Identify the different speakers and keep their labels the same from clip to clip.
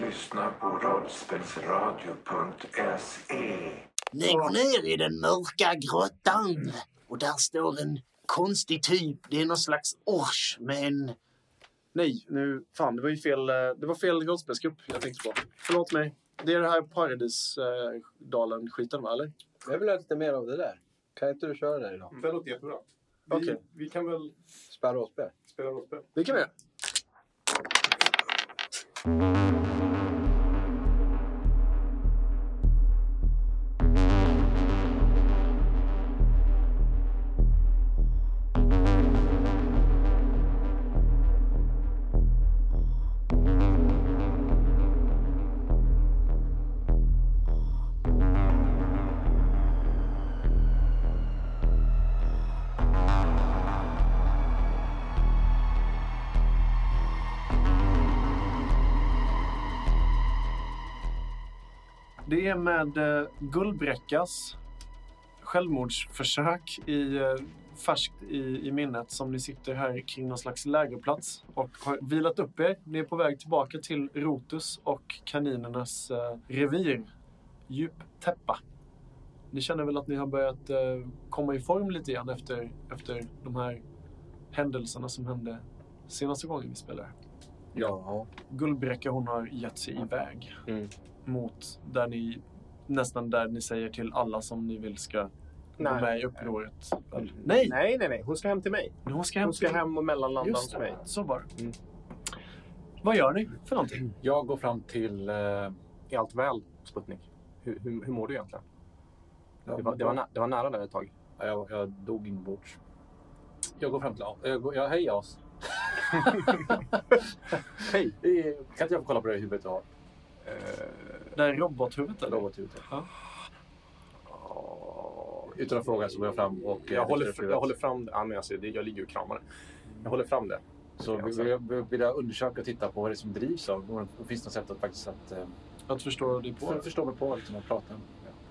Speaker 1: lyssnar på
Speaker 2: E.
Speaker 1: rollspelsradio.se.
Speaker 3: Ni går ner i den mörka grottan och där står en konstig typ. Det är någon slags ors med en...
Speaker 4: Nej, nu fan, det var ju fel. eh, Det var fel rollspelsgrupp jag tänkte på. Förlåt mig. Det är det här Paradisdalen-skiten, va? Eller?
Speaker 5: Jag vill ha lite mer av det där. Kan inte du köra det
Speaker 6: Mm.
Speaker 5: idag?
Speaker 7: Det låter jättebra. Vi,
Speaker 4: Okej.
Speaker 7: vi kan väl
Speaker 5: Spärra och spel.
Speaker 7: spela rollspel.
Speaker 4: Det kan vi göra. Det är med eh, Gullbräckas självmordsförsök i, eh, färskt i, i minnet som ni sitter här kring någon slags lägerplats och har vilat upp er. Ni är på väg tillbaka till Rotus och kaninernas eh, revir, djup täppa. Ni känner väl att ni har börjat eh, komma i form lite grann efter, efter de här händelserna som hände senaste gången vi spelade.
Speaker 5: Ja.
Speaker 4: Gullbräcka hon har gett sig iväg
Speaker 5: Mm.
Speaker 4: mot där ni nästan där ni säger till alla som ni vill ska vara med i upproret. väl? Nej,
Speaker 6: Nej, nej, nej. Hon ska hem till mig.
Speaker 4: hon ska hem.
Speaker 6: Hon ska
Speaker 4: till-
Speaker 6: hem och mellanlanda
Speaker 4: Just
Speaker 6: hos mig.
Speaker 4: det, så var det.
Speaker 5: Mm.
Speaker 4: Vad gör ni för någonting?
Speaker 6: Jag går fram till... eh, är allt väl, Sputnik? Hur, hur, hur mår du egentligen? Det var, det, var nä, det var nära där ett tag.
Speaker 5: Ja, jag, jag dog inombords. Jag går fram till As. Jag, går- jag höjer As.
Speaker 6: Hej!
Speaker 5: Eh, Kan inte jag få kolla på det huvudet du har?
Speaker 4: Det här robothuvudet eller?
Speaker 5: Robothuvudet.
Speaker 4: Ja.
Speaker 5: Utan att fråga så går jag fram och... eh,
Speaker 6: Jag håller,
Speaker 5: lyfter
Speaker 6: fr-
Speaker 5: upp huvudet.
Speaker 6: jag håller fram det. Ja, men alltså, det- jag ligger och kramar det. Jag håller fram det.
Speaker 5: Så vill, vill, jag- vill jag undersöka och titta på vad det är som drivs av. Om det Finns det något sätt att faktiskt att, eh,
Speaker 4: Att förstå dig på.
Speaker 5: för, förstå mig på liksom, och prata?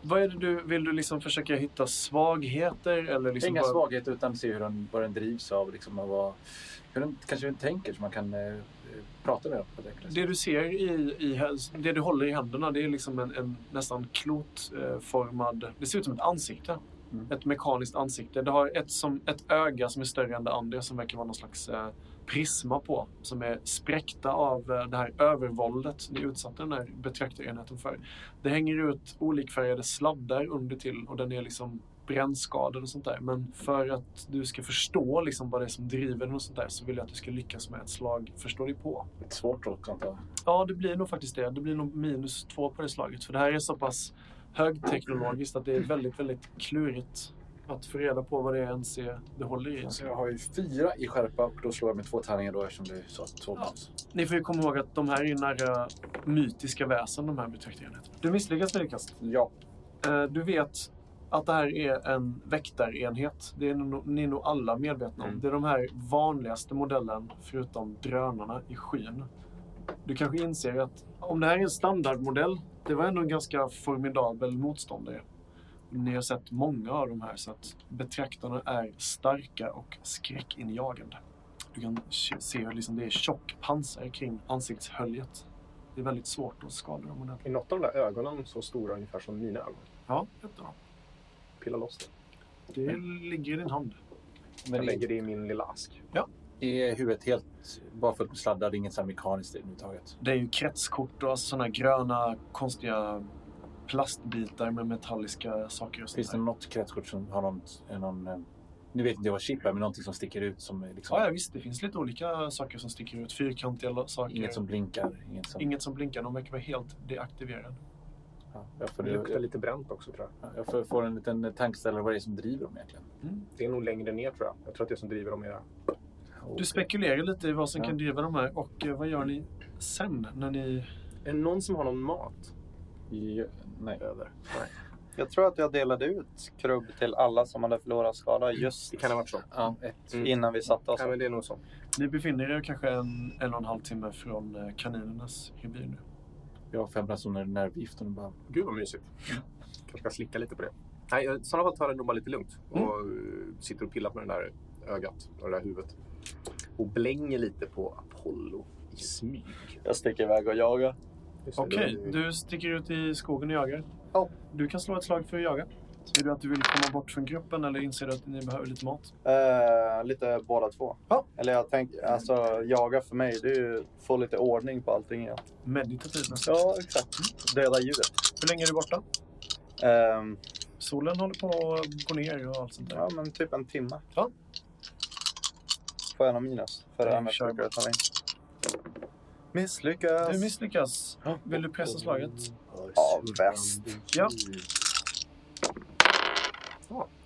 Speaker 4: Vad är det du, vill du liksom försöka hitta svagheter eller liksom
Speaker 5: Inga
Speaker 4: bara-
Speaker 5: svagheter utan se hur den, vad den drivs av. Liksom, och vad, hur den kanske hur den tänker så man kan eh, prata med den på ett enklare sätt.
Speaker 4: Det du ser i, i hä- det du håller i händerna det är liksom en, en nästan klotformad, det ser ut som ett ansikte.
Speaker 5: Mm.
Speaker 4: Ett mekaniskt ansikte. Det har ett, som, ett öga som är större än det andra som verkar vara någon slags eh, prisma på. Som är spräckta av eh, det här övervåldet ni utsatte den här betraktarenheten för. Det hänger ut olikfärgade sladdar under till och den är liksom brännskadad och sånt där. Men för att du ska förstå liksom vad det är som driver den och sånt där så vill jag att du ska lyckas med ett slag förstå dig på.
Speaker 5: Lite svårt också antar jag.
Speaker 4: Ja, det blir nog faktiskt det. Det blir nog minus två på det slaget. För det här är så pass högteknologiskt att det är väldigt, väldigt klurigt att få reda på vad det är ens är det håller i.
Speaker 5: Så jag har ju fyra i skärpa och då slår jag med två tärningar då eftersom det är så. så
Speaker 4: Ja. Ni får ju komma ihåg att de här är ju nära mytiska väsen, de här betraktarenheterna. Du misslyckas med ditt kast.
Speaker 5: ja.
Speaker 4: Eh, Du vet att det här är en väktarenhet. Det är nog, ni är nog alla medvetna om.
Speaker 5: Mm.
Speaker 4: Det är de här vanligaste modellen, förutom drönarna i skyn. Du kanske inser att om det här är en standardmodell, det var ändå en ganska formidabel motståndare. Ni har sett många av de här, så att betraktarna är starka och skräckinjagande. Du kan se hur liksom det är tjock pansar kring ansiktshöljet. Det är väldigt svårt att skada dem ordentligt.
Speaker 6: Är något av de där ögonen så stora ungefär som mina ögon?
Speaker 4: Ja, ett av dem.
Speaker 6: Pilla loss det.
Speaker 4: Det ligger i din hand.
Speaker 6: Jag
Speaker 5: Men
Speaker 6: lägger det i min lilla ask.
Speaker 5: är, är huvudet helt bara fullt med sladdar? Det är inget så här mekaniskt överhuvudtaget?
Speaker 4: Det är ju kretskort och alltså sådana gröna konstiga plastbitar med metalliska saker och sånt
Speaker 5: Finns det
Speaker 4: där.
Speaker 5: något kretskort som har någon... någon eh, nu vet inte jag vad chip är, men någonting som sticker ut som är liksom...
Speaker 4: Ja, ja, visst. Det finns lite olika saker som sticker ut. Fyrkantiga lo- saker.
Speaker 5: Inget som blinkar. Inget som...
Speaker 4: Inget som blinkar. De verkar vara helt deaktiverade.
Speaker 5: Ja, jag, får,
Speaker 6: Det luktar
Speaker 5: jag,
Speaker 6: lite bränt också tror jag.
Speaker 5: jag får, får en liten eh, tankeställare vad det är som driver dem egentligen.
Speaker 6: Det är nog längre ner tror jag. Jag tror att det är som driver dem är...
Speaker 4: Du spekulerar lite i vad som
Speaker 5: Ja.
Speaker 4: kan driva de här och eh, vad gör ni sen när ni...
Speaker 6: Är det någon som har någon mat?
Speaker 5: Ja, nej.
Speaker 8: Jag tror att jag delade ut krubb till alla som hade förlorat skada just
Speaker 6: Det kan ha varit så.
Speaker 5: Ja, ett.
Speaker 6: Mm.
Speaker 8: innan vi satte oss.
Speaker 6: Nej, men det är nog så.
Speaker 4: Ni befinner er kanske en, en och en halv timme från eh, kaninernas revir nu.
Speaker 5: Jag har fem personer nervgift och de bara...
Speaker 6: Gud vad mysigt. Kanske ska slicka lite på det. Nej, jag- i sådana fall tar jag det nog bara lite lugnt och
Speaker 4: Mm.
Speaker 6: eh, sitter och pillar på det där ögat och det där huvudet. Och blänger lite på Apollo i smyg.
Speaker 8: Jag sticker iväg och jagar.
Speaker 6: Just det,
Speaker 4: Okej,
Speaker 6: det var ju-
Speaker 4: du sticker ut i skogen och jagar.
Speaker 6: Ja.
Speaker 4: Du kan slå ett slag för att jaga. Ser du att du vill komma bort från gruppen eller inser du att ni behöver lite mat?
Speaker 8: Eh, lite båda två.
Speaker 4: Ja.
Speaker 8: Eller jag tänker, alltså jaga för mig, det är ju få lite ordning på allting igen.
Speaker 4: Meditativt nästan.
Speaker 8: Ja, exakt. Döda djuret.
Speaker 4: Hur länge är du borta?
Speaker 8: Ehm,
Speaker 4: Solen håller på att gå ner och allt sånt där.
Speaker 8: ja, men typ en timme.
Speaker 4: Ja.
Speaker 8: Får jag någon minus? För det
Speaker 4: Nej,
Speaker 8: här med
Speaker 4: kör.
Speaker 8: försöka ta in. Misslyckas.
Speaker 4: Du misslyckas. Vill du pressa slaget?
Speaker 8: Ja, bäst.
Speaker 4: Ja.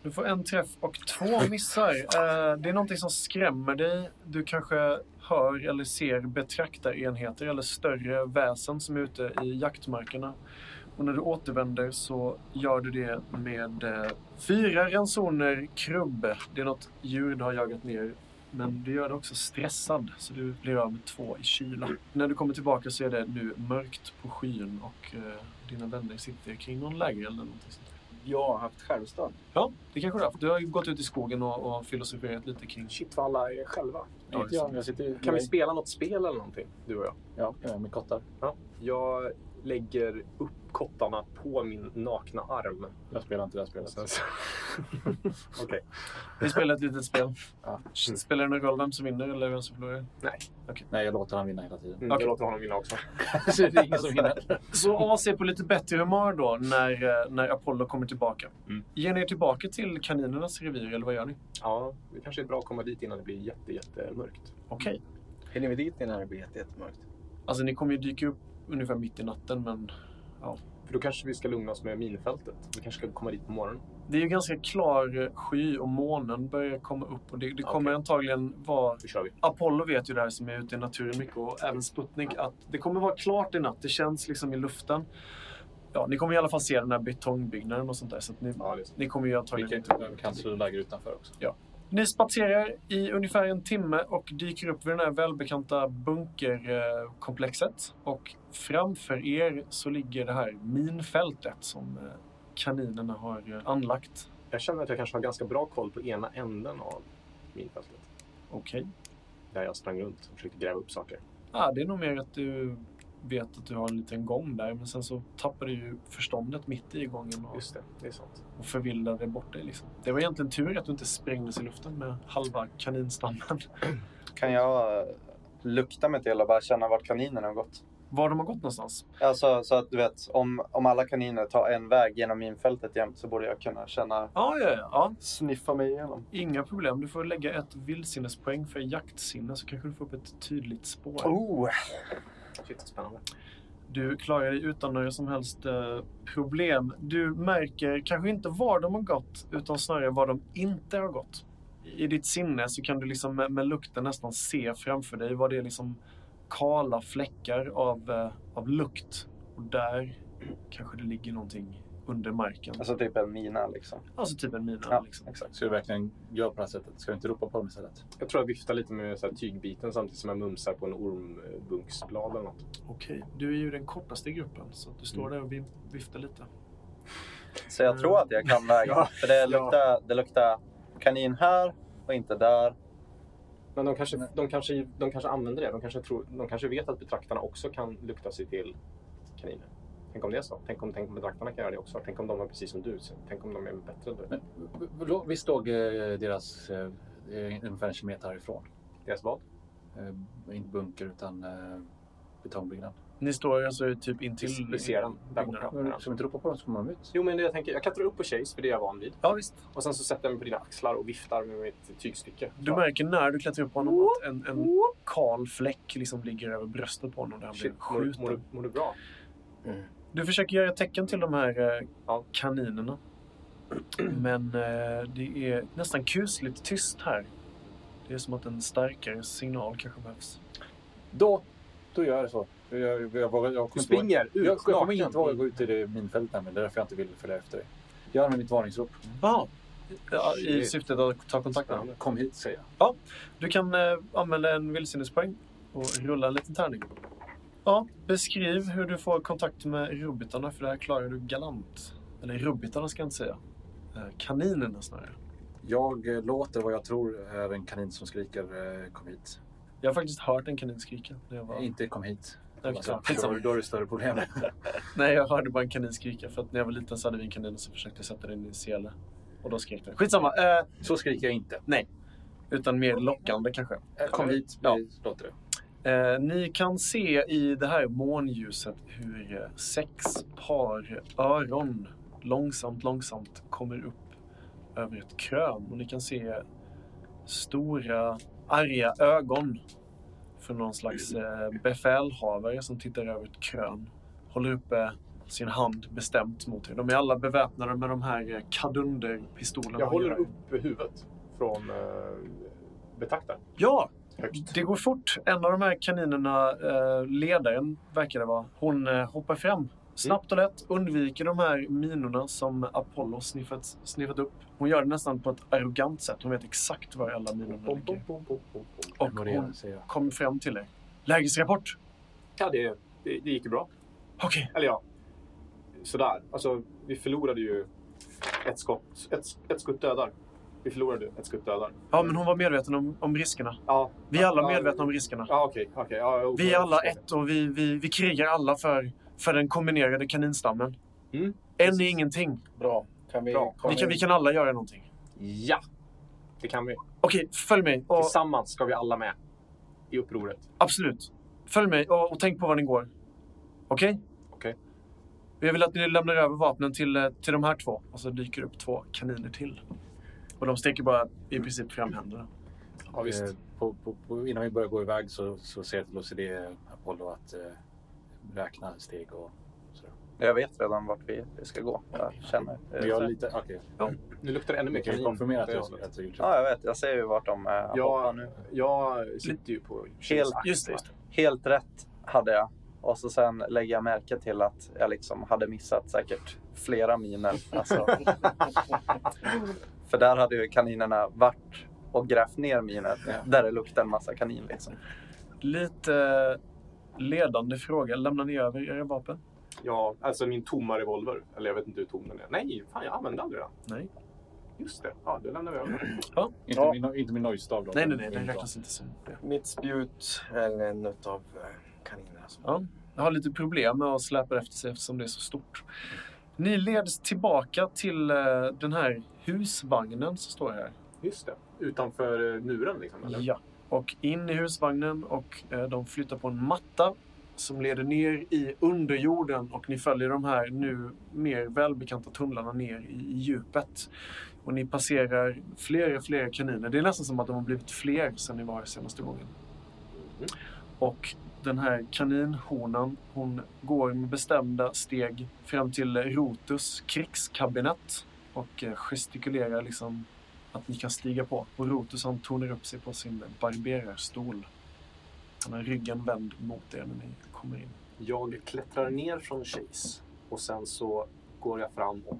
Speaker 4: Du får en träff och två missar. Eh, det är någonting som skrämmer dig. Du kanske hör eller ser betraktarenheter eller större väsen som är ute i jaktmarkerna. Och när du återvänder så gör du det med eh, fyra ransoner krubbe. Det är något djur du har jagat ner. Men du gör det också stressad, så du blir av med två i kyla. När du kommer tillbaka så är det nu mörkt på skyn och eh, dina vänner sitter kring någon lägereld eller någonting sånt.
Speaker 5: Jag har haft självstånd.
Speaker 4: Ja, det kanske du har haft. Du har ju gått ut i skogen och, och filosoferat lite kring...
Speaker 6: Shit vad alla är själva.
Speaker 4: Ja, just det.
Speaker 5: jag sitter ju
Speaker 6: Kan vi spela något spel eller någonting, du och jag?
Speaker 5: Ja, kan jag med kottar.
Speaker 6: Jag lägger upp kottarna på min nakna arm.
Speaker 5: Jag spelar inte det här
Speaker 4: Alltså.
Speaker 5: spelet.
Speaker 6: Sen så- Okej.
Speaker 4: Vi spelar ett litet spel.
Speaker 5: Ja.
Speaker 4: Spelar det någon roll vem som vinner eller vem som förlorar?
Speaker 5: Nej, jag låter han vinna hela tiden.
Speaker 6: Mm,
Speaker 4: Okej.
Speaker 6: Jag låter honom vinna också.
Speaker 5: Så det är ingen som vinner.
Speaker 4: Så AC på lite bättre humör då när, eh, när Apollo kommer tillbaka.
Speaker 6: Mm.
Speaker 4: Ger ni er tillbaka till kaninernas revir eller vad gör ni?
Speaker 6: Ja, det kanske är bra att komma dit innan det blir jätte, jättemörkt.
Speaker 4: Okej.
Speaker 1: Hinner vi dit innan det blir jätte- jättemörkt?
Speaker 4: Alltså ni kommer ju dyka upp ungefär mitt i natten men
Speaker 6: För då kanske vi ska lugna oss med minfältet. Vi kanske ska komma dit på morgonen.
Speaker 4: det är ju ganska klar eh, sky och månen börjar komma upp och det, det kommer
Speaker 6: Okej.
Speaker 4: antagligen vara
Speaker 6: Då kör vi.
Speaker 4: Apollo vet ju det här som är ute i naturen mycket och även Sputnik att det kommer vara klart i natt. Det känns liksom i luften. Ja, ni kommer i alla fall se den här betongbyggnaden och sånt där. Så att ni,
Speaker 6: Ja, det är så.
Speaker 4: ni kommer ju antagligen
Speaker 5: Vi
Speaker 4: inte
Speaker 5: kan- kan slå läger utanför också.
Speaker 4: Ni spatserar i ungefär en timme och dyker upp vid det här välbekanta bunkerkomplexet. Och framför er så ligger det här minfältet som eh, kaninerna har eh, anlagt.
Speaker 6: Jag känner att jag kanske har ganska bra koll på ena änden av minfältet.
Speaker 4: Okej.
Speaker 6: Där jag sprang runt och försökte gräva upp saker.
Speaker 4: Ja, det är nog mer att du vet att du har en liten gång där, men sen så tappar du ju förståndet mitt i gången och,
Speaker 6: Just det, det är sant.
Speaker 4: och förvillar dig bort dig. Liksom. Det var egentligen tur att du inte sprängdes i luften med halva kaninstammen.
Speaker 8: Kan jag eh, lukta mig till och bara känna vart kaninerna har gått?
Speaker 4: Var de har gått någonstans?
Speaker 8: Alltså så att du vet, om, om alla kaniner tar en väg genom minfältet jämt så borde jag kunna känna,
Speaker 4: Ja, ja, ja, ja.
Speaker 8: sniffa mig igenom.
Speaker 4: Inga problem. Du får lägga ett vildsinnespoäng för jaktsinne så kanske du får upp ett tydligt spår.
Speaker 8: Oh!
Speaker 6: Shit, vad spännande.
Speaker 4: Du klarar dig utan några som helst eh, problem. Du märker kanske inte var de har gått, utan snarare var de inte har gått. I ditt sinne så kan du liksom med, med lukten nästan se framför dig vad det är liksom kala fläckar av, eh, av lukt. Och där kanske det ligger någonting under marken.
Speaker 8: Alltså typ en mina liksom.
Speaker 4: Alltså typ en mina.
Speaker 8: Ja,
Speaker 4: liksom.
Speaker 8: exakt.
Speaker 5: Ska du verkligen göra på det här sättet? Ska du inte ropa på dem istället?
Speaker 6: Jag tror jag viftar lite med så här tygbiten samtidigt som jag mumsar på en ormbunksblad eller något.
Speaker 4: Okej, du är ju den kortaste i gruppen så att du står där och vim- viftar lite.
Speaker 8: Så jag tror att jag kan vägen.
Speaker 6: Ja,
Speaker 8: För det luktar, det luktar kanin här och inte där.
Speaker 6: Men de kanske, de, kanske, de kanske använder det. De kanske, tror, de kanske vet att betraktarna också kan lukta sig till kaniner. Tänk om det är så. Tänk om, tänk om betraktarna kan göra det också. Tänk om de är precis som du. Tänk om de är bättre än du.
Speaker 5: Men, v- v- visst låg eh, deras eh, eh, ungefär en kilometer härifrån?
Speaker 6: Deras vad?
Speaker 5: Eh, inte bunker utan eh, betongbyggnad.
Speaker 4: Ni står alltså typ intill...
Speaker 6: Vi ser den där borta.
Speaker 5: Men Ska vi inte ropa på dem så kommer de ut.
Speaker 6: Jo, men det jag tänker, jag klättrar upp på Chase, för det är jag van vid.
Speaker 4: Ja, visst.
Speaker 6: Och sen så sätter jag mig på dina axlar och viftar med mitt tygstycke.
Speaker 4: Du märker när du klättrar upp på honom att en, en kal fläck liksom ligger över bröstet på honom där han blir
Speaker 6: Shit, mår, du- mår,
Speaker 4: skjuten.
Speaker 6: du- mår du bra?
Speaker 4: Du försöker göra tecken till de här eh,
Speaker 6: Ja.
Speaker 4: kaninerna. Men eh, det är nästan kusligt tyst här. Det är som att en starkare signal kanske behövs.
Speaker 5: Då, då gör jag det så. Jag, jag, jag, vågar- jag kommer inte våga-
Speaker 6: ut
Speaker 5: jag, jag kommer inte våga gå ut i det minfältet nämligen. Det är därför jag inte vill följa efter dig. Jag använder mitt varningsrop.
Speaker 4: Jaha. Ja, I
Speaker 6: Shit.
Speaker 4: syftet att ta kontakt med honom.
Speaker 5: Kom hit säger jag.
Speaker 4: Du kan eh, använda en vildsinnespoäng och rulla en liten tärning. Ja, beskriv hur du får kontakt med rubbitarna, för det här klarar du galant. Eller rubbitarna ska jag inte säga. Eh, Kaninerna snarare.
Speaker 5: Jag eh, låter vad jag tror är en kanin som skriker eh, kom hit.
Speaker 4: Jag har faktiskt hört en kanin skrika när jag var...
Speaker 5: Inte kom hit.
Speaker 4: Det är
Speaker 5: Alltså,
Speaker 4: klart.
Speaker 5: då, då är det större problem.
Speaker 4: Nej, jag hörde bara en kanin skrika. För att när jag var liten så hade vi en kanin som försökte sätta den i en sele. Och då skrek den. Skitsamma. Eh,
Speaker 5: Så skriker jag inte. Eh,
Speaker 4: utan mer lockande kanske.
Speaker 5: Kom hit,
Speaker 4: Ja.
Speaker 5: vi låter det.
Speaker 4: Eh, ni kan se i det här månljuset hur eh, sex par öron långsamt, långsamt kommer upp över ett krön. Och ni kan se stora, arga ögon från någon slags eh, befälhavare som tittar över ett krön. Håller uppe sin hand bestämt mot er. De är alla beväpnade med de här eh, kadunderpistolerna.
Speaker 6: Jag håller upp huvudet från eh, betraktaren.
Speaker 4: Ja,
Speaker 6: Högst.
Speaker 4: Det går fort. En av de här kaninerna, eh, ledaren verkar det vara, hon eh, hoppar fram snabbt och lätt, undviker de här minorna som Apollo sniffat, sniffat upp. Hon gör det nästan på ett arrogant sätt. Hon vet exakt var alla minorna
Speaker 6: Bom, bom,
Speaker 4: ligger.
Speaker 6: bom, bom, bom, bom.
Speaker 4: Och
Speaker 5: Vad det är,
Speaker 4: hon
Speaker 5: säger jag.
Speaker 4: kommer fram till er. Lägesrapport?
Speaker 6: Ja, det, det, det gick ju bra.
Speaker 4: Okej.
Speaker 6: Eller ja, sådär. Alltså, vi förlorade ju ett skott. Ett, ett skutt dödar. Vi förlorade ett skutt dödar.
Speaker 4: Ja, men hon var medveten om, om riskerna.
Speaker 6: Ja,
Speaker 4: Vi är alla medvetna om riskerna.
Speaker 6: ja okej. okej, ja, jag-
Speaker 4: Vi är alla
Speaker 6: jag-
Speaker 4: ett och vi, vi, vi krigar alla för, för den kombinerade kaninstammen.
Speaker 6: Mm.
Speaker 4: En är ingenting.
Speaker 1: Bra. Kan vi
Speaker 6: Bra.
Speaker 1: komma
Speaker 4: Vi kan, vi
Speaker 1: in?
Speaker 4: kan alla göra någonting.
Speaker 6: Ja, det kan vi.
Speaker 4: Okej, följ mig. Och...
Speaker 6: Tillsammans ska vi alla med i upproret.
Speaker 4: Absolut. Följ mig och, och tänk på var ni går. Okej?
Speaker 6: Okej.
Speaker 4: Jag vill att ni lämnar över vapnen till, eh, till de här två. Och så dyker upp två kaniner till. Och de steker bara i princip fram händerna.
Speaker 6: Ja, visst.
Speaker 5: Eh, På, på, på, innan vi börjar gå iväg så, så säger jag till OCD Apollo att eh, räkna steg och sådär.
Speaker 8: Jag vet redan vart vi ska gå. Jag känner.
Speaker 4: Eh,
Speaker 5: Men jag litar... Okej.
Speaker 6: Nu luktar det ännu mer
Speaker 5: Kan vi
Speaker 6: kanin.
Speaker 5: konfirmera att
Speaker 6: Det är
Speaker 5: jag,
Speaker 6: jag.
Speaker 5: att jag gjorde
Speaker 4: Ah,
Speaker 5: rätt?
Speaker 8: Ja, jag vet. Jag ser ju vart de eh, hoppar nu.
Speaker 6: Jag sitter ju på
Speaker 8: Helt,
Speaker 4: Just det, just det.
Speaker 8: helt rätt hade jag. Och så sen lägger jag märke till att jag liksom hade missat säkert flera miner. Alltså. För där hade ju kaninerna varit och grävt ner miner
Speaker 5: Ja.
Speaker 8: där det luktade en massa kanin. Liksom.
Speaker 4: Lite eh, ledande fråga. Lämnar ni över era vapen?
Speaker 6: Ja, alltså min tomma revolver. Eller jag vet inte hur tom den är. Nej, fan jag använde aldrig den.
Speaker 4: Nej.
Speaker 6: Just det. Ja, det lämnar vi över.
Speaker 5: Inte,
Speaker 1: Ja.
Speaker 5: min, inte min nojstav då.
Speaker 4: Nej, nej, nej.
Speaker 5: Den
Speaker 4: Den
Speaker 5: är
Speaker 4: räknas inte som det.
Speaker 1: Mitt spjut eller en eh, av kaninerna. som-
Speaker 4: Ja. Jag har lite problem med att släpa efter sig eftersom det är så stort. Ni leds tillbaka till eh, den här husvagnen som står här.
Speaker 6: Just det. Utanför eh, muren liksom, eller?
Speaker 4: Ja, och in i husvagnen och eh, de flyttar på en matta som leder ner i underjorden och ni följer de här nu mer välbekanta tunnlarna ner i i djupet. Och ni passerar flera, flera kaniner. Det är nästan som att de har blivit fler sedan ni var här senaste gången.
Speaker 6: Mhm.
Speaker 4: Och den här kaninhonan, hon går med bestämda steg fram till Rotus krigskabinett och eh, gestikulerar liksom att ni kan stiga på. Och Rotus han tonar upp sig på sin barberarstol. Han har ryggen vänd mot er när ni kommer in.
Speaker 6: Jag klättrar ner från Chase och sen så går jag fram och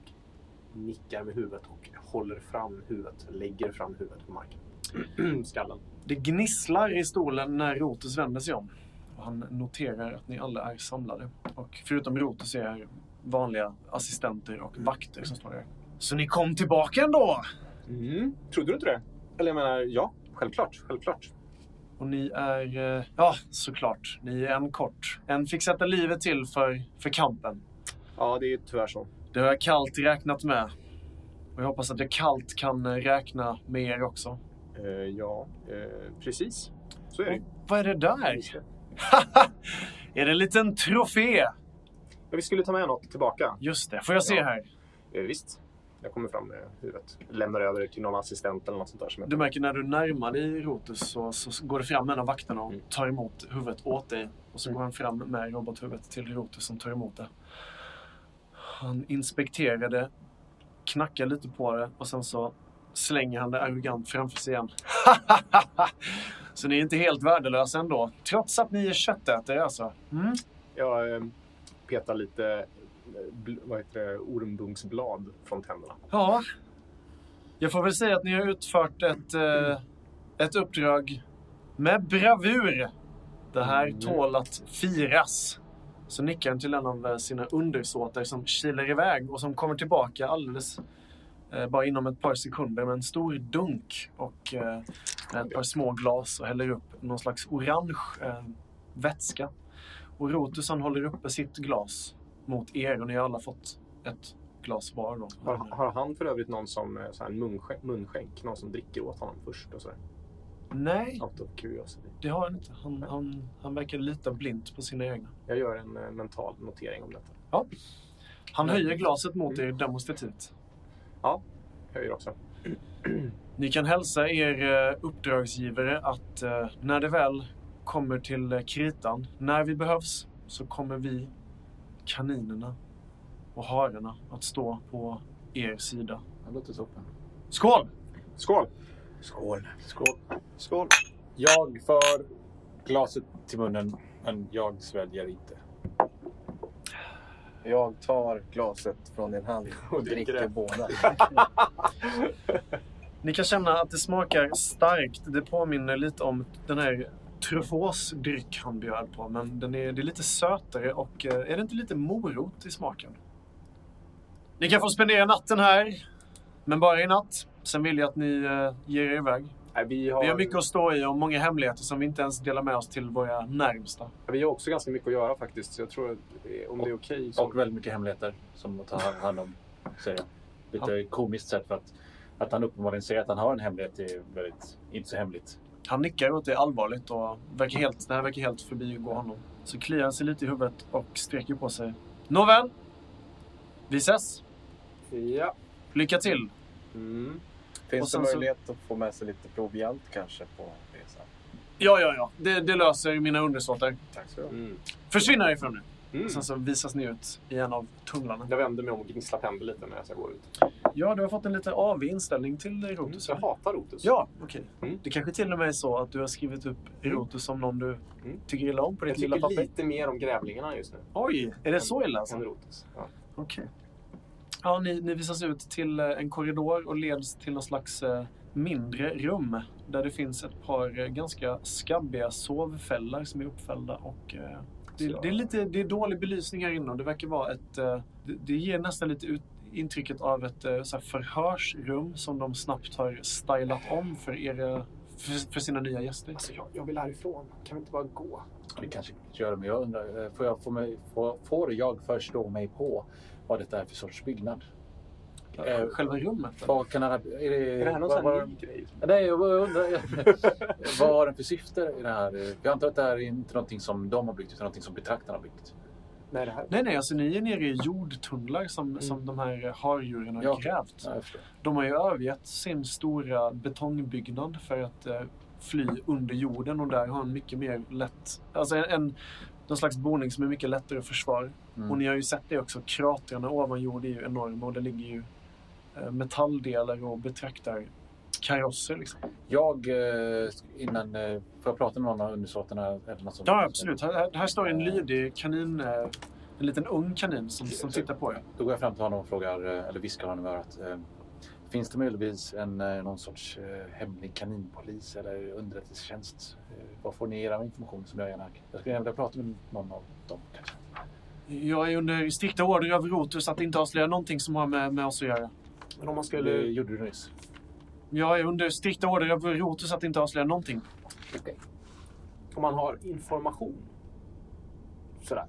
Speaker 6: nickar med huvudet och håller fram huvudet, lägger fram huvudet på marken. Skallen.
Speaker 4: Det gnisslar i stolen när Rotus vänder sig om. Och han noterar att ni alla är samlade. Och förutom Rotus är vanliga assistenter och vakter som står där. Så ni kom tillbaka ändå!
Speaker 6: Mm. Trodde du inte det? Eller jag menar, ja, självklart, självklart.
Speaker 4: Och ni är, eh, ja såklart, ni är en kort. En fick sätta livet till för, för kampen.
Speaker 6: Ja, det är ju tyvärr så.
Speaker 4: Det har jag kallt räknat med. Och jag hoppas att jag kallt kan eh, räkna med er också.
Speaker 6: Eh, ja, eh, precis. Så är det. ju.
Speaker 4: Vad är det där?
Speaker 6: Just det.
Speaker 4: är det en liten trofé?
Speaker 6: Men vi skulle ta med något tillbaka.
Speaker 4: Just det, får jag se
Speaker 6: Ja.
Speaker 4: här?
Speaker 6: Eh, visst. Jag kommer fram med huvudet. Lämnar över det till någon assistent eller något sånt där. Som jag...
Speaker 4: Du märker när du närmar dig Rotus så, så går det fram en av vakterna och tar emot huvudet åt dig. Och så går han fram med robothuvudet till Rotus som tar emot det. Han inspekterar det, knackar lite på det och sen så slänger han det arrogant framför sig igen. så ni är inte helt värdelösa ändå. Trots att ni är köttätare alltså. Mm.
Speaker 6: Jag eh, petar lite eh, bl- vad heter det? ormbunksblad från tänderna.
Speaker 4: Ja. Jag får väl säga att ni har utfört ett, eh, ett uppdrag med bravur. Det här
Speaker 6: Mm.
Speaker 4: tål att firas. Så nickar han till en av eh, sina undersåtar som kilar iväg och som kommer tillbaka alldeles eh, bara inom ett par sekunder med en stor dunk och eh, med ett par små glas och häller upp någon slags orange eh, vätska. Och Rotus han håller uppe sitt glas mot er och ni har alla fått ett glas var då.
Speaker 6: Har, har han för övrigt någon som eh, så här munskänk, munskänk, någon som dricker åt honom först och sådär?
Speaker 4: Nej,
Speaker 6: Out of curiosity.
Speaker 4: det har han inte. Han, han, han verkar lita blint på sina egna.
Speaker 6: Jag gör en eh, mental notering om detta.
Speaker 4: Han höjer glaset mot er demonstrativt.
Speaker 6: Jag gör också.
Speaker 4: Ni kan hälsa er eh, uppdragsgivare att eh, när det väl kommer till eh, kritan, när vi behövs, så kommer vi, kaninerna och hararna, att stå på er sida.
Speaker 5: Det låter toppen.
Speaker 4: Skål!
Speaker 6: Skål!
Speaker 1: Skål.
Speaker 5: Skål.
Speaker 6: Skål!
Speaker 5: Jag för glaset till munnen, men jag sväljer inte.
Speaker 1: Jag tar glaset från din hand och
Speaker 6: dricker
Speaker 1: dricker,
Speaker 6: det.
Speaker 1: båda.
Speaker 4: Ni kan känna att det smakar starkt. Det påminner lite om den här truffosdryck han bjöd på, men den är, det är lite sötare och eh, är det inte lite morot i smaken? Ni kan få spendera natten här, men bara i natt. Sen vill jag att ni eh, ger er iväg.
Speaker 6: Nej, vi, har,
Speaker 4: Vi har mycket att stå i och många hemligheter som vi inte ens delar med oss till våra närmsta.
Speaker 6: vi har också ganska mycket att göra faktiskt. Så jag tror att eh, om det är okej så...
Speaker 5: Och väldigt mycket hemligheter som att ta hand om, säger jag. Lite komiskt sätt för att, att han uppenbarligen ser att han har en hemlighet är väldigt, inte så hemligt.
Speaker 4: Han nickar åt det allvarligt och verkar helt, det här verkar helt förbigå honom. Så kliar han sig lite i huvudet och sträcker på sig. Nåväl, vi ses.
Speaker 6: Ja.
Speaker 4: Lycka till.
Speaker 6: Mm.
Speaker 4: Och
Speaker 1: Finns det
Speaker 4: sen så-
Speaker 1: möjlighet att få med sig lite proviant kanske på resan?
Speaker 4: Ja, ja, ja. Det, det löser mina undersåtar.
Speaker 1: Tack så mycket.
Speaker 6: Mm.
Speaker 4: Försvinn härifrån nu.
Speaker 6: Mm.
Speaker 4: Sen så visas ni ut i en av tunnlarna.
Speaker 6: Jag vänder mig om och gnisslar tänder lite medan jag går ut. Mm.
Speaker 4: Ja, du har fått en lite avig inställning till Rotus.
Speaker 6: Jag hatar Rotus.
Speaker 4: Ja, okej.
Speaker 6: Mm.
Speaker 4: Det kanske till och med är så att du har skrivit upp Rotus som någon du
Speaker 6: Mm.
Speaker 4: tycker illa om på
Speaker 6: Jag
Speaker 4: ditt lilla papper.
Speaker 6: tycker lite mer om grävlingarna just nu.
Speaker 4: Oj, är det så illa alltså?
Speaker 6: Än Rotus. Ja.
Speaker 4: Okej. Ja, ni, ni visas ut till eh, en korridor och leds till någon slags eh, mindre rum där det finns ett par eh, ganska skabbiga sovfällar som är uppfällda och eh, det,
Speaker 6: Så-
Speaker 4: det, är lite, det är dålig belysning här inne och det verkar vara ett... eh, Det, det ger nästan lite ut, intrycket av ett eh, så här förhörsrum som de snabbt har stylat om för, era, för, för sina nya gäster.
Speaker 6: Alltså, jag, jag vill härifrån. Kan vi inte bara gå?
Speaker 5: Vi kanske gör det, men jag undrar, eh, får jag, får, mig, får, får jag förstå mig på vad detta är för sorts byggnad? Eh,
Speaker 4: Själva rummet. eller?
Speaker 5: Vad kan det här... Är det,
Speaker 6: Är det här någon
Speaker 5: vad-
Speaker 6: sån här
Speaker 5: vad-
Speaker 6: ny grej?
Speaker 5: Nej, jag bara undrar. vad har den för syfte i det här? Jag antar att det här är inte någonting som de har byggt utan någonting som betraktarna har byggt.
Speaker 6: Nej, det här.
Speaker 4: Nej, nej, alltså ni är nere i jordtunnlar som, som de här eh, harjuren har
Speaker 5: Ja.
Speaker 4: grävt.
Speaker 5: Ja, jag förstår.
Speaker 4: De har ju övergett sin stora betongbyggnad för att eh, fly under jorden och där har en mycket mer lätt, alltså en, en någon slags boning som är mycket lättare att försvara.
Speaker 5: Mm.
Speaker 4: Och ni har ju sett det också, kratrarna ovan jord är ju enorma och det ligger ju eh, metalldelar och betraktar karosser liksom.
Speaker 5: Jag, eh, innan, eh, får jag prata med någon av undersåtarna? eller något sånt?
Speaker 4: Ja, absolut. Här, här- här står en lydig kanin, eh, en liten ung kanin som, som tittar på er.
Speaker 5: Då går jag fram till honom och frågar, eh, eller viskar honom i örat. eh, Finns det möjligtvis en, eh, någon sorts eh, hemlig kaninpolis eller underrättelsetjänst? Eh, Var får ni era information som jag gärna... Jag skulle gärna vilja prata med någon av dem kanske.
Speaker 4: Jag är under strikta order av Rotus att inte avslöja någonting som har med, med oss att göra.
Speaker 6: Men om man
Speaker 5: Det
Speaker 6: skulle...
Speaker 5: gjorde du nyss.
Speaker 4: Jag är under strikta order av Rotus att inte avslöja någonting.
Speaker 6: Om man har information sådär,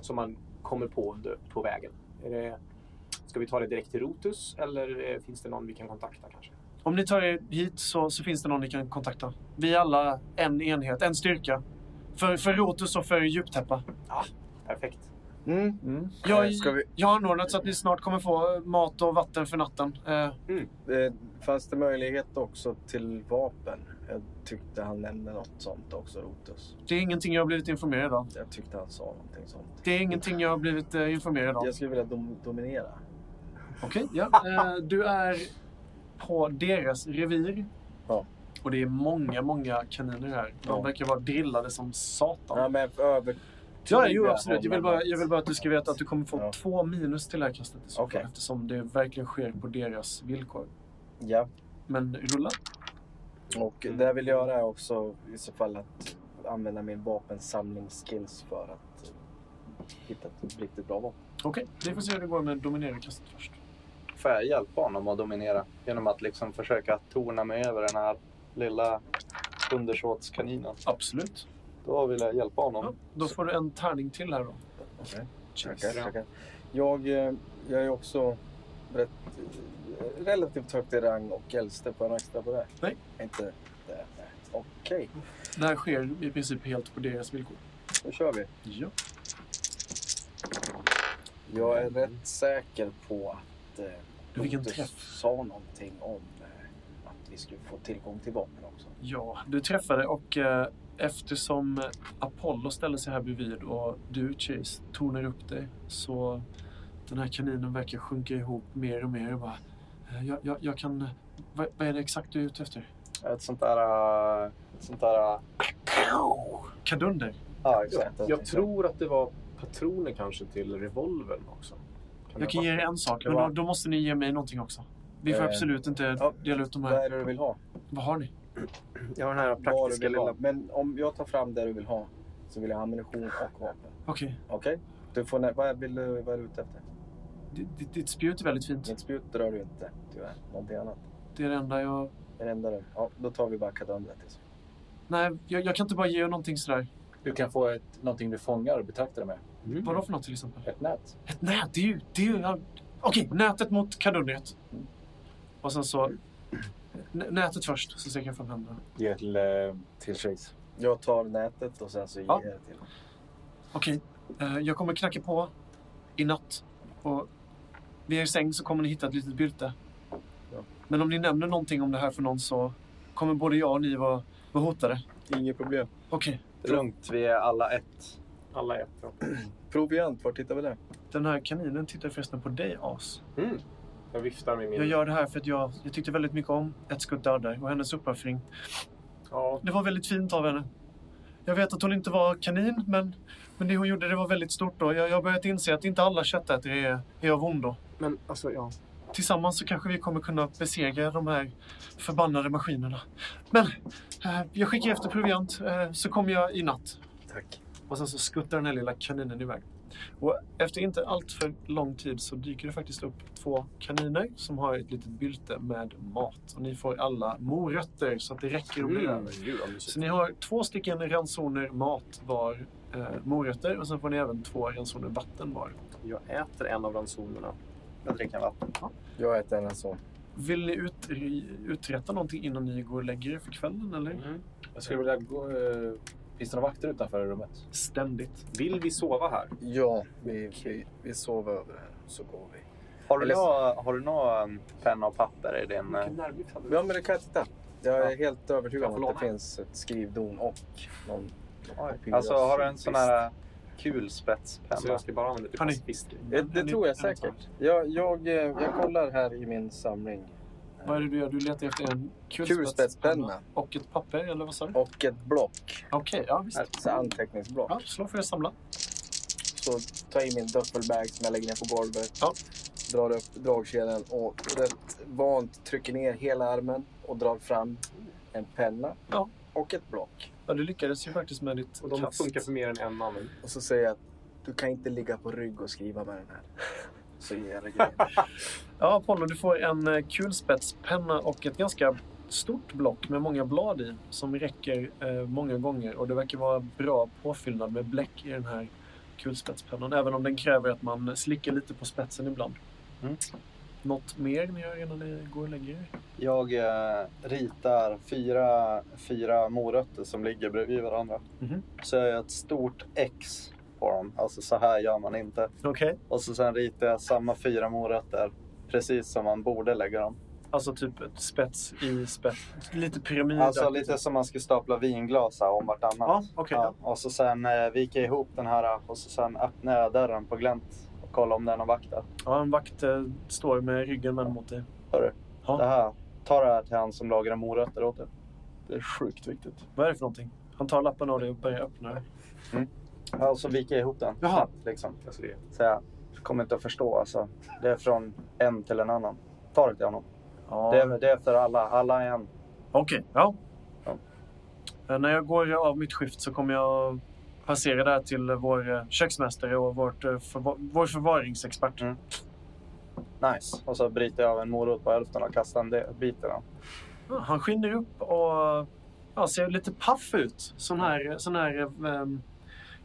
Speaker 6: som man kommer på under, på vägen. Är det, ska vi ta det direkt till Rotus eller eh, finns det någon vi kan kontakta kanske?
Speaker 4: Om ni tar er hit så, så finns det någon ni kan kontakta. Vi är alla en enhet, en styrka. För, för Rotus och för Djuptäppa.
Speaker 6: Perfekt.
Speaker 1: Mm.
Speaker 5: Mm.
Speaker 1: Eh,
Speaker 4: Jag,
Speaker 1: Ska vi,
Speaker 4: jag har anordnat så att ni snart kommer få mat och vatten för natten. Eh,
Speaker 1: eh, fanns det möjlighet också till vapen? Jag tyckte han nämnde något sånt också, Rotus.
Speaker 4: det är ingenting jag har blivit informerad om.
Speaker 1: Jag tyckte han sa någonting sånt.
Speaker 4: Det är ingenting jag har blivit eh, informerad om.
Speaker 1: Jag skulle vilja dom, dominera.
Speaker 4: Okej, ja. Eh, du är på deras revir.
Speaker 1: Ja.
Speaker 4: Och det är många, många kaniner här. De
Speaker 1: Ja.
Speaker 4: verkar vara drillade som satan.
Speaker 1: Ja, men över...
Speaker 4: Ja, jo, absolut.
Speaker 1: honom
Speaker 4: Jag vill, bara,
Speaker 1: att-
Speaker 4: jag vill bara att du ska veta att du kommer få
Speaker 1: Ja.
Speaker 4: två minus till det här kastet i så fall,
Speaker 1: Okej.
Speaker 4: eftersom det verkligen sker på deras villkor.
Speaker 1: Ja,
Speaker 4: Men rulla.
Speaker 1: och det jag vill göra är också i så fall att använda min vapensamlingsskills för att eh, hitta ett riktigt bra vapen.
Speaker 4: Okej, vi får se hur det går med dominerarkastet först.
Speaker 8: Får jag hjälpa honom att dominera genom att liksom försöka torna mig över den här lilla undersåtskaninen?
Speaker 4: Absolut.
Speaker 8: Då vill jag hjälpa honom.
Speaker 4: Ja, då får du en tärning till här då.
Speaker 1: Tackar, tackar. Jag, eh, jag är också rätt, eh, relativt högt i rang och äldste på en extra på det.
Speaker 4: Nej.
Speaker 1: Inte det. nej. Okej,
Speaker 4: Det här sker i princip helt på deras villkor.
Speaker 1: då kör vi.
Speaker 4: Ja.
Speaker 1: Jag är rätt säker på att eh,
Speaker 4: Du fick en
Speaker 1: Pontus
Speaker 4: träff.
Speaker 1: sa någonting om eh, att vi skulle få tillgång till vapen också.
Speaker 4: Ja, du träffade och eh, eftersom Apollo ställer sig här bredvid och du, Chase, tonar upp dig så den här kaninen verkar sjunka ihop mer och mer och bara eh, jag, jag, jag kan... Vad, vad är det exakt du är ute efter?
Speaker 8: Ett sånt där... äh, Ett sånt där... äh,
Speaker 4: Kadunder?
Speaker 8: Ja,
Speaker 6: Ja,
Speaker 8: exakt.
Speaker 6: jag tror att det var patroner kanske till revolvern också. Kan
Speaker 4: Jag
Speaker 6: det
Speaker 4: kan
Speaker 6: vara-
Speaker 4: ge er en sak,
Speaker 1: det
Speaker 4: men då,
Speaker 1: var-
Speaker 4: då måste ni ge mig någonting också. Vi får
Speaker 1: Eh,
Speaker 4: absolut inte
Speaker 1: ja,
Speaker 4: dela ut de
Speaker 1: Vad
Speaker 4: här.
Speaker 1: är det du vill ha?
Speaker 4: Vad har ni?
Speaker 6: Jag har den här
Speaker 1: Vad du
Speaker 6: praktiska
Speaker 1: vill ha.
Speaker 6: lilla...
Speaker 1: Men om jag tar fram det du vill ha så vill jag ha ammunition och vapen.
Speaker 4: Okej,
Speaker 1: Okej? Du får, nä- vad, är- vill du, vad är du ute efter?
Speaker 4: Ditt- ditt, ditt spjut är väldigt fint.
Speaker 1: Mitt spjut rör du inte, tyvärr. Någonting annat.
Speaker 4: Det är det enda jag...
Speaker 1: Det är det enda du... Ja, då tar vi bara kadundret. i så fall.
Speaker 4: Nej, jag, jag kan inte bara ge er någonting sådär.
Speaker 5: Du kan få ett, någonting du fångar och betraktar det med.
Speaker 4: Vadå för något till exempel?
Speaker 5: Ett nät.
Speaker 4: Ett nät, det är ju... Det är ju ja. Okej, nätet mot kadunnet. Och sen så... N- nätet först, så sträcker jag fram händerna.
Speaker 5: Ge till, eh, till Chase.
Speaker 1: Jag tar nätet och sen så ger
Speaker 4: Ja.
Speaker 1: jag det till honom.
Speaker 4: Okej, eh, jag kommer knacka på i natt. Och vid er säng så kommer ni hitta ett litet bylte.
Speaker 1: Ja.
Speaker 4: Men om ni nämner någonting om det här för någon så kommer både jag och ni vara, vara hotade.
Speaker 1: Inget problem.
Speaker 4: Okej,
Speaker 8: Det är Lugnt, vi är alla ett.
Speaker 6: Alla ett. Ja.
Speaker 1: Proviant, vart hittar vi det?
Speaker 4: den här kaninen tittar förresten på dig, As.
Speaker 6: Mm. Jag viftar med min...
Speaker 4: Jag gör det här för att jag, jag tyckte väldigt mycket om Ett skutt dödar och hennes uppoffring.
Speaker 6: Ja,
Speaker 4: Det var väldigt fint av henne. Jag vet att hon inte var kanin, men, men det hon gjorde det var väldigt stort. Då. Jag jag har börjat inse att inte alla köttätare är, är av ondo.
Speaker 6: men alltså ja.
Speaker 4: Tillsammans så kanske vi kommer kunna besegra de här förbannade maskinerna. Men eh, jag skickar efter proviant, eh, så kommer jag i natt.
Speaker 1: Tack.
Speaker 4: Och sen så skuttar den här lilla kaninen iväg. Och efter inte allt för lång tid så dyker det faktiskt upp två kaniner som har ett litet bylte med mat. Och ni får alla morötter så att det räcker och blir
Speaker 6: Mm.
Speaker 4: över.
Speaker 6: Gud vad mysigt.
Speaker 4: Så ni har två stycken ransoner mat var, eh, morötter och sen får ni även två ransoner vatten var.
Speaker 6: Jag äter en av ransonerna.
Speaker 8: Jag dricker vatten.
Speaker 1: Jag äter en sån.
Speaker 4: Vill ni ut, uträtta någonting innan ni går och lägger er för kvällen eller?
Speaker 6: Mm.
Speaker 5: Jag skulle vilja gå... Eh, finns det några vakter utanför rummet?
Speaker 4: Ständigt.
Speaker 6: Vill vi sova här?
Speaker 1: Ja, vi, vi, vi sover över här så går vi.
Speaker 8: Har du
Speaker 1: Eller-
Speaker 8: nå- har du någon penna och papper i din... eh,
Speaker 6: Vilken nervgift hade
Speaker 1: Ja, men det kan jag titta. Jag är helt
Speaker 6: Jag
Speaker 1: övertygad
Speaker 6: får
Speaker 1: om att det
Speaker 6: låna.
Speaker 1: finns ett skrivdon och någon...
Speaker 8: Alltså har du en sån här kulspetspenna?
Speaker 6: Så jag ska bara använda det
Speaker 4: Har ni-
Speaker 6: till fiske.
Speaker 1: Det,
Speaker 4: Men är
Speaker 1: det
Speaker 4: ni-
Speaker 1: tror
Speaker 4: är
Speaker 1: jag
Speaker 4: ni
Speaker 1: säkert. Jag, jag, eh, jag kollar här i min samling.
Speaker 4: Vad är det du gör? Du letar efter en
Speaker 1: Kulspetspenna.
Speaker 4: Och ett papper eller vad sa du?
Speaker 1: Och ett block.
Speaker 4: Okej, ja visst.
Speaker 1: Ett anteckningsblock.
Speaker 4: Ja, slå för att samla.
Speaker 1: Så tar jag in min duffelbag som jag lägger ner på golvet.
Speaker 4: Ja.
Speaker 1: Drar upp dragkedjan och rätt vant trycker ner hela armen och drar fram en penna
Speaker 4: Ja.
Speaker 1: och ett block.
Speaker 4: Ja, du lyckades ju faktiskt med ditt
Speaker 6: Och de
Speaker 4: kast.
Speaker 6: funkar för mer än en annan.
Speaker 1: Och så säger jag att du kan inte ligga på rygg och skriva med den här. Så ger jag dig grejen.
Speaker 4: Ja, Apollo, du får en eh, kulspetspenna och ett ganska stort block med många blad i som räcker eh, många gånger och det verkar vara bra påfyllnad med bläck i den här kulspetspennan, även om den kräver att man slickar lite på spetsen ibland.
Speaker 8: Mm.
Speaker 4: Något mer ni gör innan ni går och lägger er?
Speaker 8: Jag eh, ritar fyra, fyra morötter som ligger bredvid varandra.
Speaker 4: Mhm.
Speaker 8: Så jag gör ett stort X på dem. Alltså så här gör man inte.
Speaker 4: Okej.
Speaker 8: Och så sen ritar jag samma fyra morötter precis som man borde lägga dem.
Speaker 4: Alltså typ ett spets i spets. Lite pyramid.
Speaker 8: Alltså lite som man skulle stapla vinglas här om vartannat.
Speaker 4: Ja, okej.
Speaker 8: Ja, och så sen eh, viker jag ihop den här och så sen öppnar jag dörren på glänt och kollar om det är någon vakt där.
Speaker 4: Ja, en vakt eh, står med ryggen vänd mot dig.
Speaker 8: Hörru,
Speaker 4: Ja.
Speaker 8: det här, ta det här till han som lagar morötter åt dig. Det är sjukt viktigt.
Speaker 4: Vad är det för någonting? Han tar lappen av dig och börjar öppna den.
Speaker 8: Ja, och så viker jag ihop den
Speaker 4: Jaha.
Speaker 8: snabbt. Liksom.
Speaker 6: Alltså det.
Speaker 8: Så jag kommer inte att förstå. Alltså. Det är från en till en annan. Ta det till honom.
Speaker 4: Ja.
Speaker 8: Det, är, det är för alla. Alla är en.
Speaker 4: Okej, ja.
Speaker 8: Ja.
Speaker 4: Eh, När jag går av mitt skift så kommer jag passera där till vår eh, köksmästare och vårt, eh, förva- vår förvaringsexpert.
Speaker 8: Mm. Nice. Och så Mm. bryter jag av en morot på hälften och kastar en del- bit i den.
Speaker 4: Han skiner upp och ja, ser lite paff ut. Sån
Speaker 8: Mm.
Speaker 4: här, sån här ehm,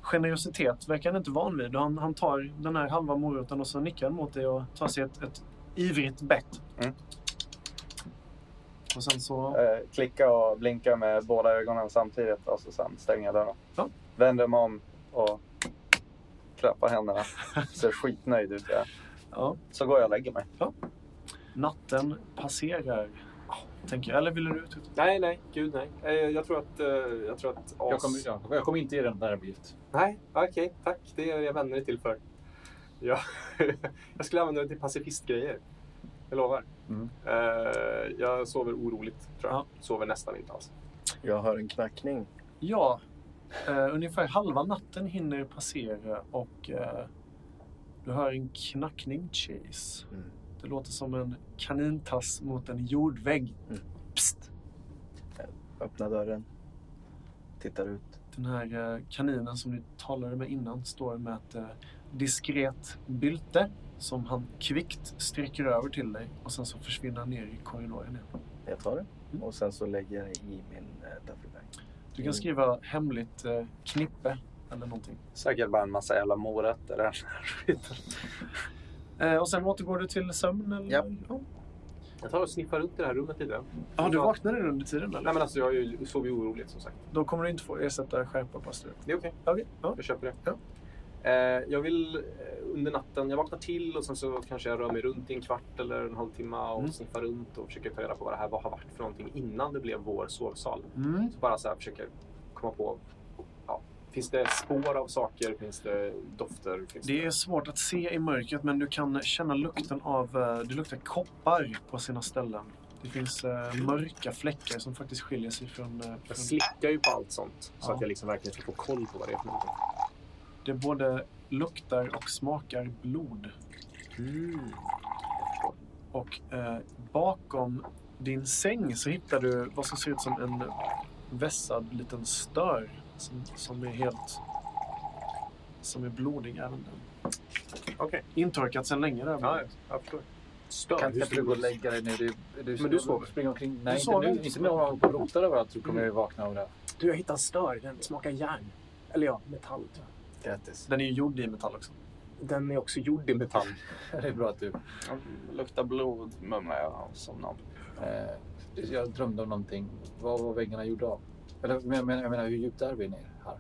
Speaker 4: generositet verkar han inte van vid. Och Han, han tar den här halva moroten och så nickar han mot dig och tar sig ett, ett ivrigt bett.
Speaker 8: Mm.
Speaker 4: Och sen så...
Speaker 8: Eh, klicka och blinka med båda ögonen samtidigt och så sen stänga dörren.
Speaker 4: Ja.
Speaker 8: Vänder mig om och klappar händerna. Ser skitnöjd ut. Ja.
Speaker 4: Ja.
Speaker 8: Så går jag och lägger mig.
Speaker 4: Natten passerar. Tänker jag. Eller vill du ut?
Speaker 6: Nej, nej. Gud, nej. Eh, Jag tror att... eh, Jag tror att
Speaker 5: Jag
Speaker 6: as-
Speaker 5: kommer, ja, jag kommer inte ge dig den där uppgift.
Speaker 6: Nej, okej. tack. Det är jag vänner det till för. Ja. jag skulle använda det till pacifistgrejer. Jag lovar.
Speaker 5: Mm.
Speaker 6: Eh, jag sover oroligt, tror jag.
Speaker 4: Ja.
Speaker 6: Sover nästan inte alls.
Speaker 1: Jag hör en knackning.
Speaker 4: Ja. Eh, ungefär halva natten hinner passera och eh, du hör en knackning, Chase.
Speaker 1: Mm.
Speaker 4: Det låter som en kanintass mot en jordvägg.
Speaker 1: Mm.
Speaker 4: Psst!
Speaker 1: Öppnar dörren. Tittar ut.
Speaker 4: Den här eh, kaninen som ni talade med innan står med ett eh, diskret bylte som han kvickt sträcker över till dig och sen så försvinner han ner i korridoren igen.
Speaker 1: Jag tar det.
Speaker 4: Mm.
Speaker 1: Och sen så lägger jag i min eh, duffelbag.
Speaker 4: Du
Speaker 1: Mm.
Speaker 4: kan skriva hemligt eh, knippe eller någonting.
Speaker 8: Säkert bara en massa jävla morötter. i den här skiten.
Speaker 4: Eh, och sen återgår du till sömn? Eller?
Speaker 1: Japp.
Speaker 4: Ja.
Speaker 6: Jag tar och sniffar runt i det här rummet lite.
Speaker 4: Ja, du vaknade under tiden eller?
Speaker 6: Nej, men alltså jag är ju- sover ju oroligt som sagt.
Speaker 4: Då kommer du inte få ersätta skärpa pastor.
Speaker 6: Det är okej.
Speaker 4: Okej. Ja.
Speaker 6: Jag köper det.
Speaker 4: Ja.
Speaker 6: Eh, jag vill eh, under natten, jag vaknar till och sen så kanske jag rör mig runt i en kvart eller en halvtimme och
Speaker 4: Mm.
Speaker 6: sniffar runt och försöker ta reda på vad det här var- har varit för någonting innan det blev vår sovsal.
Speaker 4: Mm.
Speaker 6: Så bara så här försöker komma på, ja, finns det spår av saker? Finns det dofter? Finns
Speaker 4: Det är svårt att se i mörkret men du kan känna lukten av... eh, Det luktar koppar på sina ställen. Det finns eh, mörka fläckar som faktiskt skiljer sig från... eh,
Speaker 6: Jag
Speaker 4: från
Speaker 6: slickar ju på allt sånt så
Speaker 4: Ja.
Speaker 6: att jag liksom verkligen ska få koll på vad det är för någonting.
Speaker 4: det både luktar och smakar blod. Och eh, bakom din säng så hittar du vad som ser ut som en vässad liten stör som, som är helt... Som är blodig även den.
Speaker 6: Okej.
Speaker 4: Intorkat sedan länge där.
Speaker 6: Ja, jag förstår. Stör.
Speaker 5: Kan
Speaker 6: Hur
Speaker 5: inte
Speaker 6: skulle
Speaker 5: du gå och
Speaker 6: det-
Speaker 5: lägga dig nu? Du, du,
Speaker 6: Men du sover.
Speaker 5: Springer omkring. Nej, inte
Speaker 4: sover
Speaker 5: nu.
Speaker 4: inte.
Speaker 5: Inte när jag håller på och rotar överallt. så kommer jag ju vakna av det. här.
Speaker 7: Du, jag hittade en stör. Den smakar järn. Eller ja, metall. tror jag.
Speaker 1: Grattis.
Speaker 4: Den är ju gjord i metall också.
Speaker 7: Den är också gjord i metall.
Speaker 5: Det är bra att du...
Speaker 8: Luktar blod mumlar jag som någon.
Speaker 5: Eh, jag drömde om någonting. Vad var väggarna gjorda av? Eller, men, men, jag menar, hur djupt är vi ner här? Hur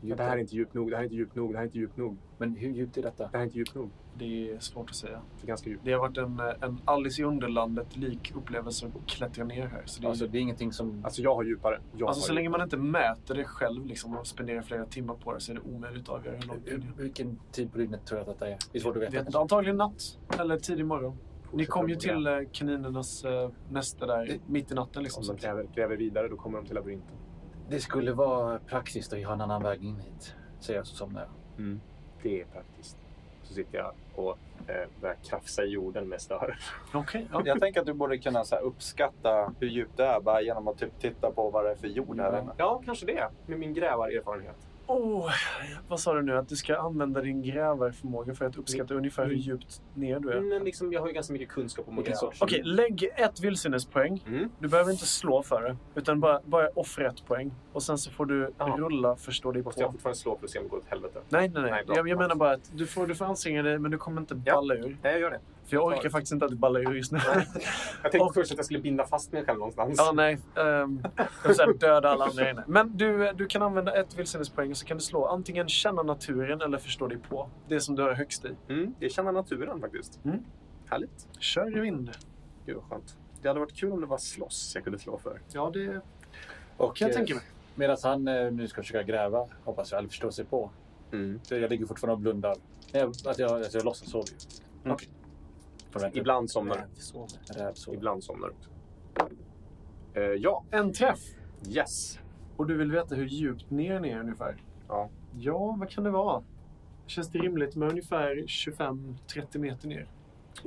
Speaker 7: Men
Speaker 5: djupt
Speaker 7: det här
Speaker 5: är-
Speaker 7: är inte djupt nog. Det här är inte djupt nog. Det här är inte djupt nog.
Speaker 5: Men hur djupt är detta?
Speaker 7: Det här är inte djupt nog.
Speaker 4: Det är svårt att säga.
Speaker 7: Det är ganska djupt.
Speaker 4: Det har varit en, eh, en Alice i Underlandet lik upplevelse att klättra ner här. Så, det är,
Speaker 5: Alltså,
Speaker 4: alltså,
Speaker 5: det är ingenting som...
Speaker 7: Alltså jag har djupare. Jag
Speaker 4: så
Speaker 7: har
Speaker 4: länge man inte mäter det själv liksom, och spenderar flera timmar på det så är det omöjligt att avgöra hur långt det är.
Speaker 5: Vilken tid på dygnet tror jag att detta är? Det är svårt att
Speaker 4: Alltså, Det
Speaker 5: veta.
Speaker 4: är inte- antagligen natt eller tidig morgon. Ni kom ju till eh, kaninernas eh, näste där mitt i natten. Liksom,
Speaker 7: Om
Speaker 4: så
Speaker 7: de
Speaker 4: att-
Speaker 7: gräver, gräver vidare då kommer de till labyrinten.
Speaker 5: Det skulle vara praktiskt att ha en annan väg in hit. Säger jag så somnar jag.
Speaker 6: Det är praktiskt. Så sitter jag och eh, börjar krafsa i jorden med stör.
Speaker 4: Okej, ja.
Speaker 8: Jag tänker att du borde kunna så här, uppskatta hur djupt det är bara genom att typ titta på vad det är för jord här inne.
Speaker 6: Ja, kanske det. Med min grävarerfarenhet.
Speaker 4: oh, vad sa du nu? Att du ska använda din grävarförmåga för att
Speaker 5: Mm.
Speaker 4: uppskatta ungefär hur djupt ner du är?
Speaker 6: Men liksom, jag har ju ganska mycket kunskap om att
Speaker 5: Vilken
Speaker 6: gräva.
Speaker 5: sorts-
Speaker 4: Okej, lägg ett vildsinnespoäng.
Speaker 6: Mm.
Speaker 4: Du behöver inte slå för det, utan bara, bara offra ett poäng. Och sen så får du
Speaker 6: Ja.
Speaker 4: rulla förstå dig på.
Speaker 6: Måste jag fortfarande slå för att se om det går åt helvete?
Speaker 4: Nej, nej, nej.
Speaker 6: Nej, bra.
Speaker 4: jag, jag menar bara att du får, du får anstränga dig, men du kommer inte
Speaker 6: Ja.
Speaker 4: balla ur.
Speaker 6: Nej, jag gör det.
Speaker 4: För jag orkar faktiskt inte att du ballar ur just nu.
Speaker 6: Jag tänkte
Speaker 4: Och-
Speaker 6: först att jag skulle binda fast mig själv någonstans.
Speaker 4: ja, nej. Um, jag vill döda alla andra inne. Men du, eh, du kan använda ett vildsinnespoäng och så kan du slå antingen känna naturen eller förstå dig på. Det som du har högst i.
Speaker 6: Mm, det känner naturen faktiskt.
Speaker 4: Mm.
Speaker 6: Härligt.
Speaker 4: Kör i vind.
Speaker 6: Gud vad skönt. Det hade varit kul om det var slåss jag kunde slå för.
Speaker 4: Ja, det
Speaker 5: Och,
Speaker 4: kan jag
Speaker 5: eh,
Speaker 4: tänka mig.
Speaker 5: Medan han eh, nu ska försöka gräva, hoppas jag, eller förstå sig på.
Speaker 6: Mm.
Speaker 5: Så jag ligger fortfarande och blundar. Nej, att jag, alltså, jag låtsas sova ju.
Speaker 6: Mm.
Speaker 5: Okej. Får vänta.
Speaker 6: Ibland somnar du.
Speaker 5: Rävsover. Rävsover.
Speaker 6: Ibland somnar du också. Eh, ja.
Speaker 4: En träff!
Speaker 6: Yes.
Speaker 4: Och du vill veta hur djupt ner ni är ungefär?
Speaker 6: Ja.
Speaker 4: Ja, vad kan det vara? Känns det rimligt med ungefär 25-30 meter ner?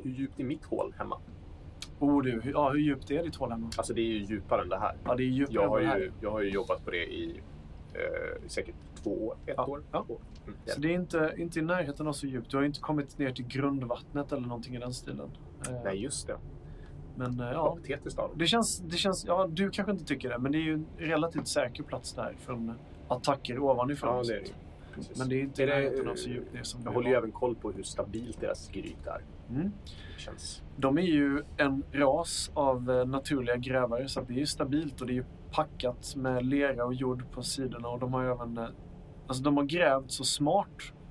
Speaker 6: Hur djupt är mitt hål hemma?
Speaker 4: Oh du, hur, ja, hur djupt är ditt hål hemma?
Speaker 6: Alltså det är ju djupare än det här.
Speaker 4: Ja, det är djupare
Speaker 6: Jag har
Speaker 4: än det här.
Speaker 6: ju, jag har ju jobbat på det i eh, säkert två år. Ett
Speaker 4: Ja,
Speaker 6: år.
Speaker 4: ja.
Speaker 6: Två år. Mm,
Speaker 4: Så det är inte, inte i närheten av så djupt. Du har ju inte kommit ner till grundvattnet eller någonting i den stilen. Eh,
Speaker 6: Nej, just det.
Speaker 4: Men eh,
Speaker 6: Ja.
Speaker 4: ja,
Speaker 6: Patetiskt av dem.
Speaker 4: det känns, det känns... Ja, du kanske inte tycker det, men det är ju en relativt säker plats där från attacker ovanifrån.
Speaker 6: Ja, det är det ju. Precis.
Speaker 4: Men det är ju inte
Speaker 6: Är
Speaker 4: i
Speaker 6: det-
Speaker 4: närheten av så djupt ner som
Speaker 6: Jag
Speaker 4: vi
Speaker 6: håller ju
Speaker 4: var.
Speaker 6: även koll på hur stabilt deras gryt är.
Speaker 4: Mm.
Speaker 6: Det känns.
Speaker 4: De är ju en ras av eh, naturliga grävare så att det är ju stabilt och det är ju packat med lera och jord på sidorna och de har ju även eh, alltså de har grävt så smart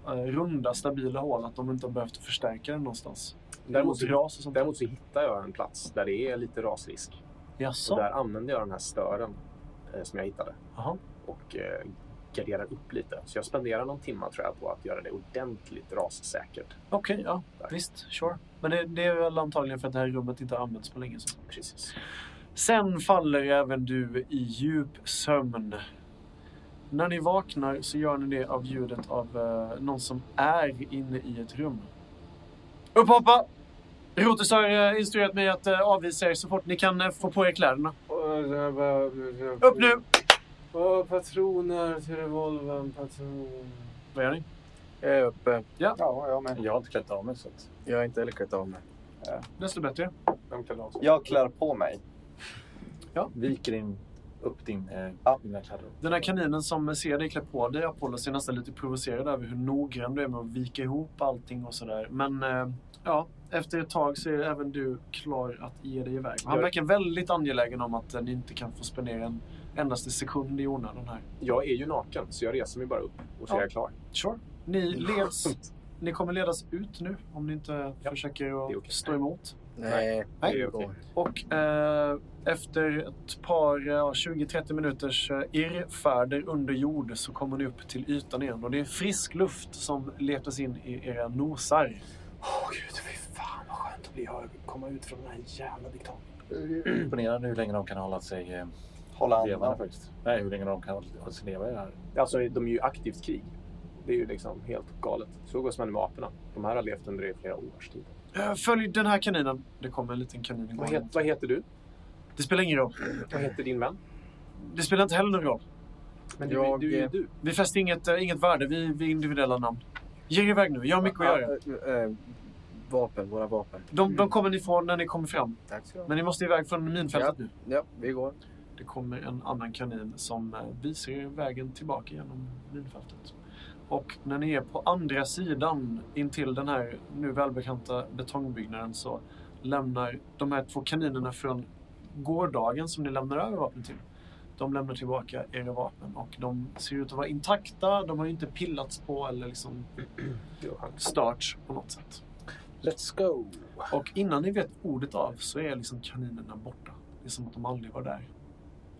Speaker 4: eh, runda stabila hål att de inte har behövt förstärka den någonstans.
Speaker 6: Däremot så-
Speaker 4: Mot ras och sånt.
Speaker 6: Däremot så hittar jag en plats där det är lite rasrisk.
Speaker 4: Jaså?
Speaker 6: Och där använder jag den här stören eh, som jag hittade
Speaker 4: Jaha.
Speaker 6: och eh, garderar upp lite. Så jag spenderar någon timma tror jag på att göra det ordentligt rassäkert.
Speaker 4: Okej, ja.
Speaker 6: Där.
Speaker 4: Visst, sure. Men det, det är väl antagligen för att det här rummet inte har använts på länge. Så.
Speaker 6: Precis.
Speaker 4: Sen faller även du i djup sömn. När ni vaknar så gör ni det av ljudet av eh, någon som är inne i ett rum. Upp och hoppa! Rotus har eh, instruerat mig att eh, avvisa er så fort ni kan eh, få på er kläderna. Upp nu!
Speaker 5: Åh, patroner till revolvern, patron.
Speaker 4: Vad gör ni?
Speaker 1: Jag är uppe.
Speaker 8: Ja, jag med.
Speaker 5: Jag har inte klätt av mig så att...
Speaker 1: Jag har inte heller klätt av mig.
Speaker 4: Desto bättre.
Speaker 6: Vem kan ha
Speaker 8: Jag klär på mig.
Speaker 5: Viker in, upp din, eh,
Speaker 8: Ja.
Speaker 5: dina kläder.
Speaker 4: Den här kaninen som ser dig klä på dig, Apollo, ser nästan lite provocerad över hur noggrann du är med att vika ihop allting och sådär. Men eh, ja, efter ett tag så är även du klar att ge dig iväg. Och Han
Speaker 6: Jag-
Speaker 4: verkar väldigt angelägen om att eh, ni inte kan få spendera en endaste sekund i onödan här.
Speaker 6: Jag är ju naken så jag reser mig bara upp och så
Speaker 4: Ja.
Speaker 6: är jag klar.
Speaker 4: Sure. Ni leds. Ni kommer ledas ut nu om ni inte
Speaker 6: Ja,
Speaker 4: försöker att
Speaker 6: det är okej.
Speaker 4: stå emot.
Speaker 1: Nej,
Speaker 4: Nej.
Speaker 1: det går.
Speaker 4: Och eh, efter ett par eh, 20-30 minuters eh, irrfärder under jord så kommer ni upp till ytan igen och det är frisk luft som letas in i era nosar.
Speaker 6: Åh gud, fy fan vad skönt att bli hör, komma ut från den här jävla diktatorn.
Speaker 5: Imponerande hur länge de kan hålla sig eh,
Speaker 8: Hålla
Speaker 5: levande
Speaker 8: andan.
Speaker 5: faktiskt. Nej, hur länge de kan hålla sig leva i det här.
Speaker 6: Alltså de är ju aktivt krig. Det är ju liksom helt galet. Så går man med aporna. De här har levt under det i flera års tid.
Speaker 4: Eh, följ den här kaninen. Det kommer en liten kanin.
Speaker 6: Vad,
Speaker 4: igång.
Speaker 6: heter, vad heter du?
Speaker 4: Det spelar ingen roll.
Speaker 6: Vad heter din vän?
Speaker 4: Det spelar inte heller någon roll.
Speaker 6: Men du,
Speaker 1: Jag,
Speaker 6: du är ju
Speaker 1: eh,
Speaker 6: du.
Speaker 4: Vi fäster inget, eh, inget värde vid, vid individuella namn. Ge er iväg nu. Jag har mycket att göra.
Speaker 1: Äh, äh, vapen, våra vapen.
Speaker 4: De, de kommer ni få när ni kommer fram.
Speaker 1: Tack ska du ha.
Speaker 4: Men ni måste iväg från minfältet nu.
Speaker 1: Ja, vi går.
Speaker 4: Det kommer en annan kanin som eh, visar er vägen tillbaka genom minfältet. Och när ni är på andra sidan intill den här nu välbekanta betongbyggnaden så lämnar de här två kaninerna från gårdagen som ni lämnar över vapnen till. De lämnar tillbaka era vapen och de ser ut att vara intakta. De har ju inte pillats på eller liksom
Speaker 6: Jo, han-
Speaker 4: störts på något sätt.
Speaker 5: Let's go!
Speaker 4: Och innan ni vet ordet av så är liksom kaninerna borta. Det är som att de aldrig var där.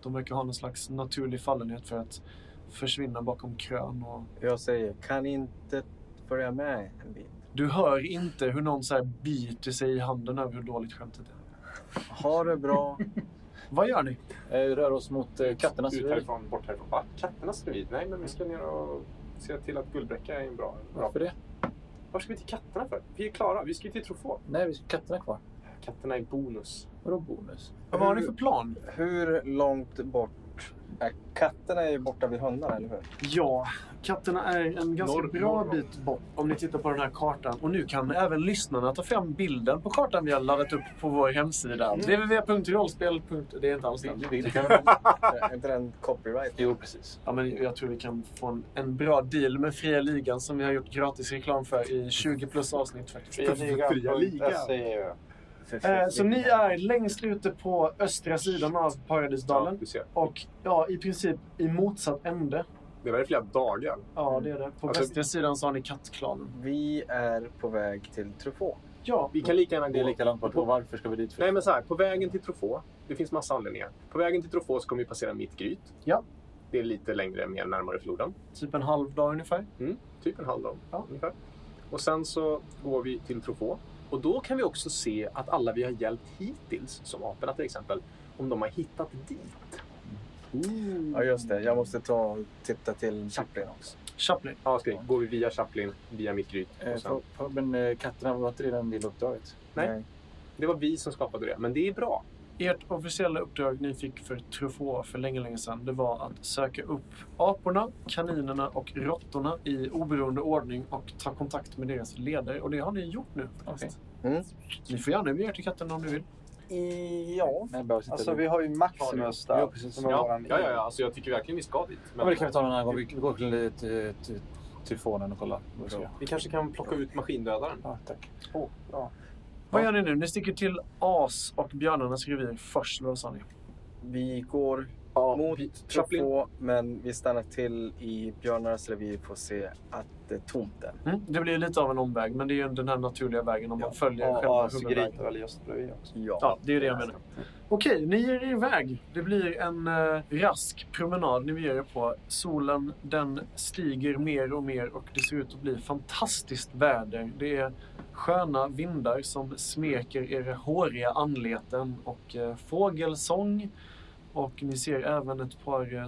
Speaker 4: De verkar ha någon slags naturlig fallenhet för att försvinna bakom krön. Och
Speaker 1: Jag säger, kan inte följa med en bit?
Speaker 4: du hör inte hur någon så här biter sig i handen över hur dåligt skämtet är.
Speaker 1: Ha det bra.
Speaker 4: Vad gör ni?
Speaker 5: Eh, rör oss mot eh, katternas
Speaker 6: Ut
Speaker 5: revir.
Speaker 6: härifrån, bort härifrån. Va? Katternas revir? Nej, men vi ska ner och se till att Guldbräcka är en bra... bra.
Speaker 5: Varför det?
Speaker 6: Varför ska vi till katterna för? Vi är klara. Vi ska ju till Trofå.
Speaker 5: Nej, vi ska katterna kvar.
Speaker 6: Katterna är bonus.
Speaker 5: Vadå bonus?
Speaker 4: Vad har ni för plan?
Speaker 1: Hur långt bort? Äh, katterna är ju borta vid hundarna, eller hur?
Speaker 4: Ja, katterna är en ganska
Speaker 6: Norr-
Speaker 4: bra
Speaker 6: norr om.
Speaker 4: bit bort om ni tittar på den här kartan. Och nu kan även lyssnarna ta fram bilden på kartan vi har laddat upp på vår
Speaker 6: Mm.
Speaker 4: hemsida. www.rollspel. Det är inte alls den.
Speaker 5: vill.
Speaker 1: Är inte den copyright?
Speaker 5: jo, precis.
Speaker 4: Ja, men jag tror vi kan få en, en bra deal med Fria Ligan som vi har gjort gratis reklam för i 20 plus avsnitt faktiskt. Eh, så ni är längst ute på östra sidan av
Speaker 6: Ja,
Speaker 4: Paradisdalen
Speaker 6: du ser.
Speaker 4: och ja, i princip i motsatt ände.
Speaker 6: Det var i flera dagar.
Speaker 4: Ja, det är det. På
Speaker 6: Alltså-
Speaker 4: västra sidan så har ni kattklanen.
Speaker 1: Vi är på väg till Truffaut.
Speaker 4: Ja,
Speaker 6: Vi kan lika gärna
Speaker 5: Det är
Speaker 6: gå...
Speaker 5: lika långt bort. Och varför ska vi dit? För?
Speaker 6: Nej, men så här. På vägen till Trofå. Det finns massa anledningar. På vägen till Trofå så kommer vi passera mitt gryt.
Speaker 4: Ja.
Speaker 6: Det är lite längre, mer närmare floden.
Speaker 4: typ en halv dag ungefär.
Speaker 6: Typ en halv dag
Speaker 4: Ja.
Speaker 6: ungefär. Och sen så går vi till Trofå. Och då kan vi också se att alla vi har hjälpt hittills, som aporna till exempel, om de har hittat dit.
Speaker 1: Ja, just det. Jag måste ta och titta till Chaplin också.
Speaker 4: Chaplin.
Speaker 6: Ja, ska vi. Går vi via Chaplin, via mitt gryt.
Speaker 5: Eh,
Speaker 6: Och sen,
Speaker 5: för, för, men eh, katterna var inte redan en del av uppdraget?
Speaker 6: Nej. det var vi som skapade det, men det är bra.
Speaker 4: Ert officiella uppdrag ni fick för Truffaut för länge, länge sedan, det var att söka upp aporna, kaninerna och råttorna i oberoende ordning och ta kontakt med deras ledare. Och det har ni gjort nu. faktiskt.
Speaker 1: Mm.
Speaker 4: Ni får gärna bege er till katten om ni vill.
Speaker 8: I, ja,
Speaker 5: Men behövs inte
Speaker 8: alltså vi har ju Maximus där.
Speaker 5: Ja, precis.
Speaker 8: som är
Speaker 6: Ja,
Speaker 8: våran
Speaker 6: ja, ja, alltså jag tycker verkligen vi ska dit.
Speaker 5: Ja, men det kan vi ta någon annan gång. Vi vi går till eh, ty- ty- tyfonen och kollar. vad vi ska göra.
Speaker 6: Vi kanske kan plocka ut maskindödaren.
Speaker 5: Ja, tack.
Speaker 8: Oh, ja.
Speaker 4: Vad gör ni nu? Ni sticker till As och björnarnas revir först, eller vad sa ni?
Speaker 1: Vi går
Speaker 6: Ja,
Speaker 1: mot
Speaker 6: Chaplin.
Speaker 1: Truffaut, men vi stannar till i Björnarnas revir för att se att det är tomt där.
Speaker 4: Mm, det blir ju lite av en omväg, men det är ju den här naturliga vägen om man följer
Speaker 8: Och
Speaker 4: själva
Speaker 8: As
Speaker 4: huvudvägen.
Speaker 8: griper väl just bredvid också.
Speaker 1: Ja.
Speaker 4: Ja, det är det jag menar. Okej, ni ger er iväg. Det blir en eh, rask promenad ni ger er på. Solen den stiger mer och mer och det ser ut att bli fantastiskt väder. Det är sköna vindar som smeker era håriga anleten och eh, fågelsång. Och ni ser även ett par eh,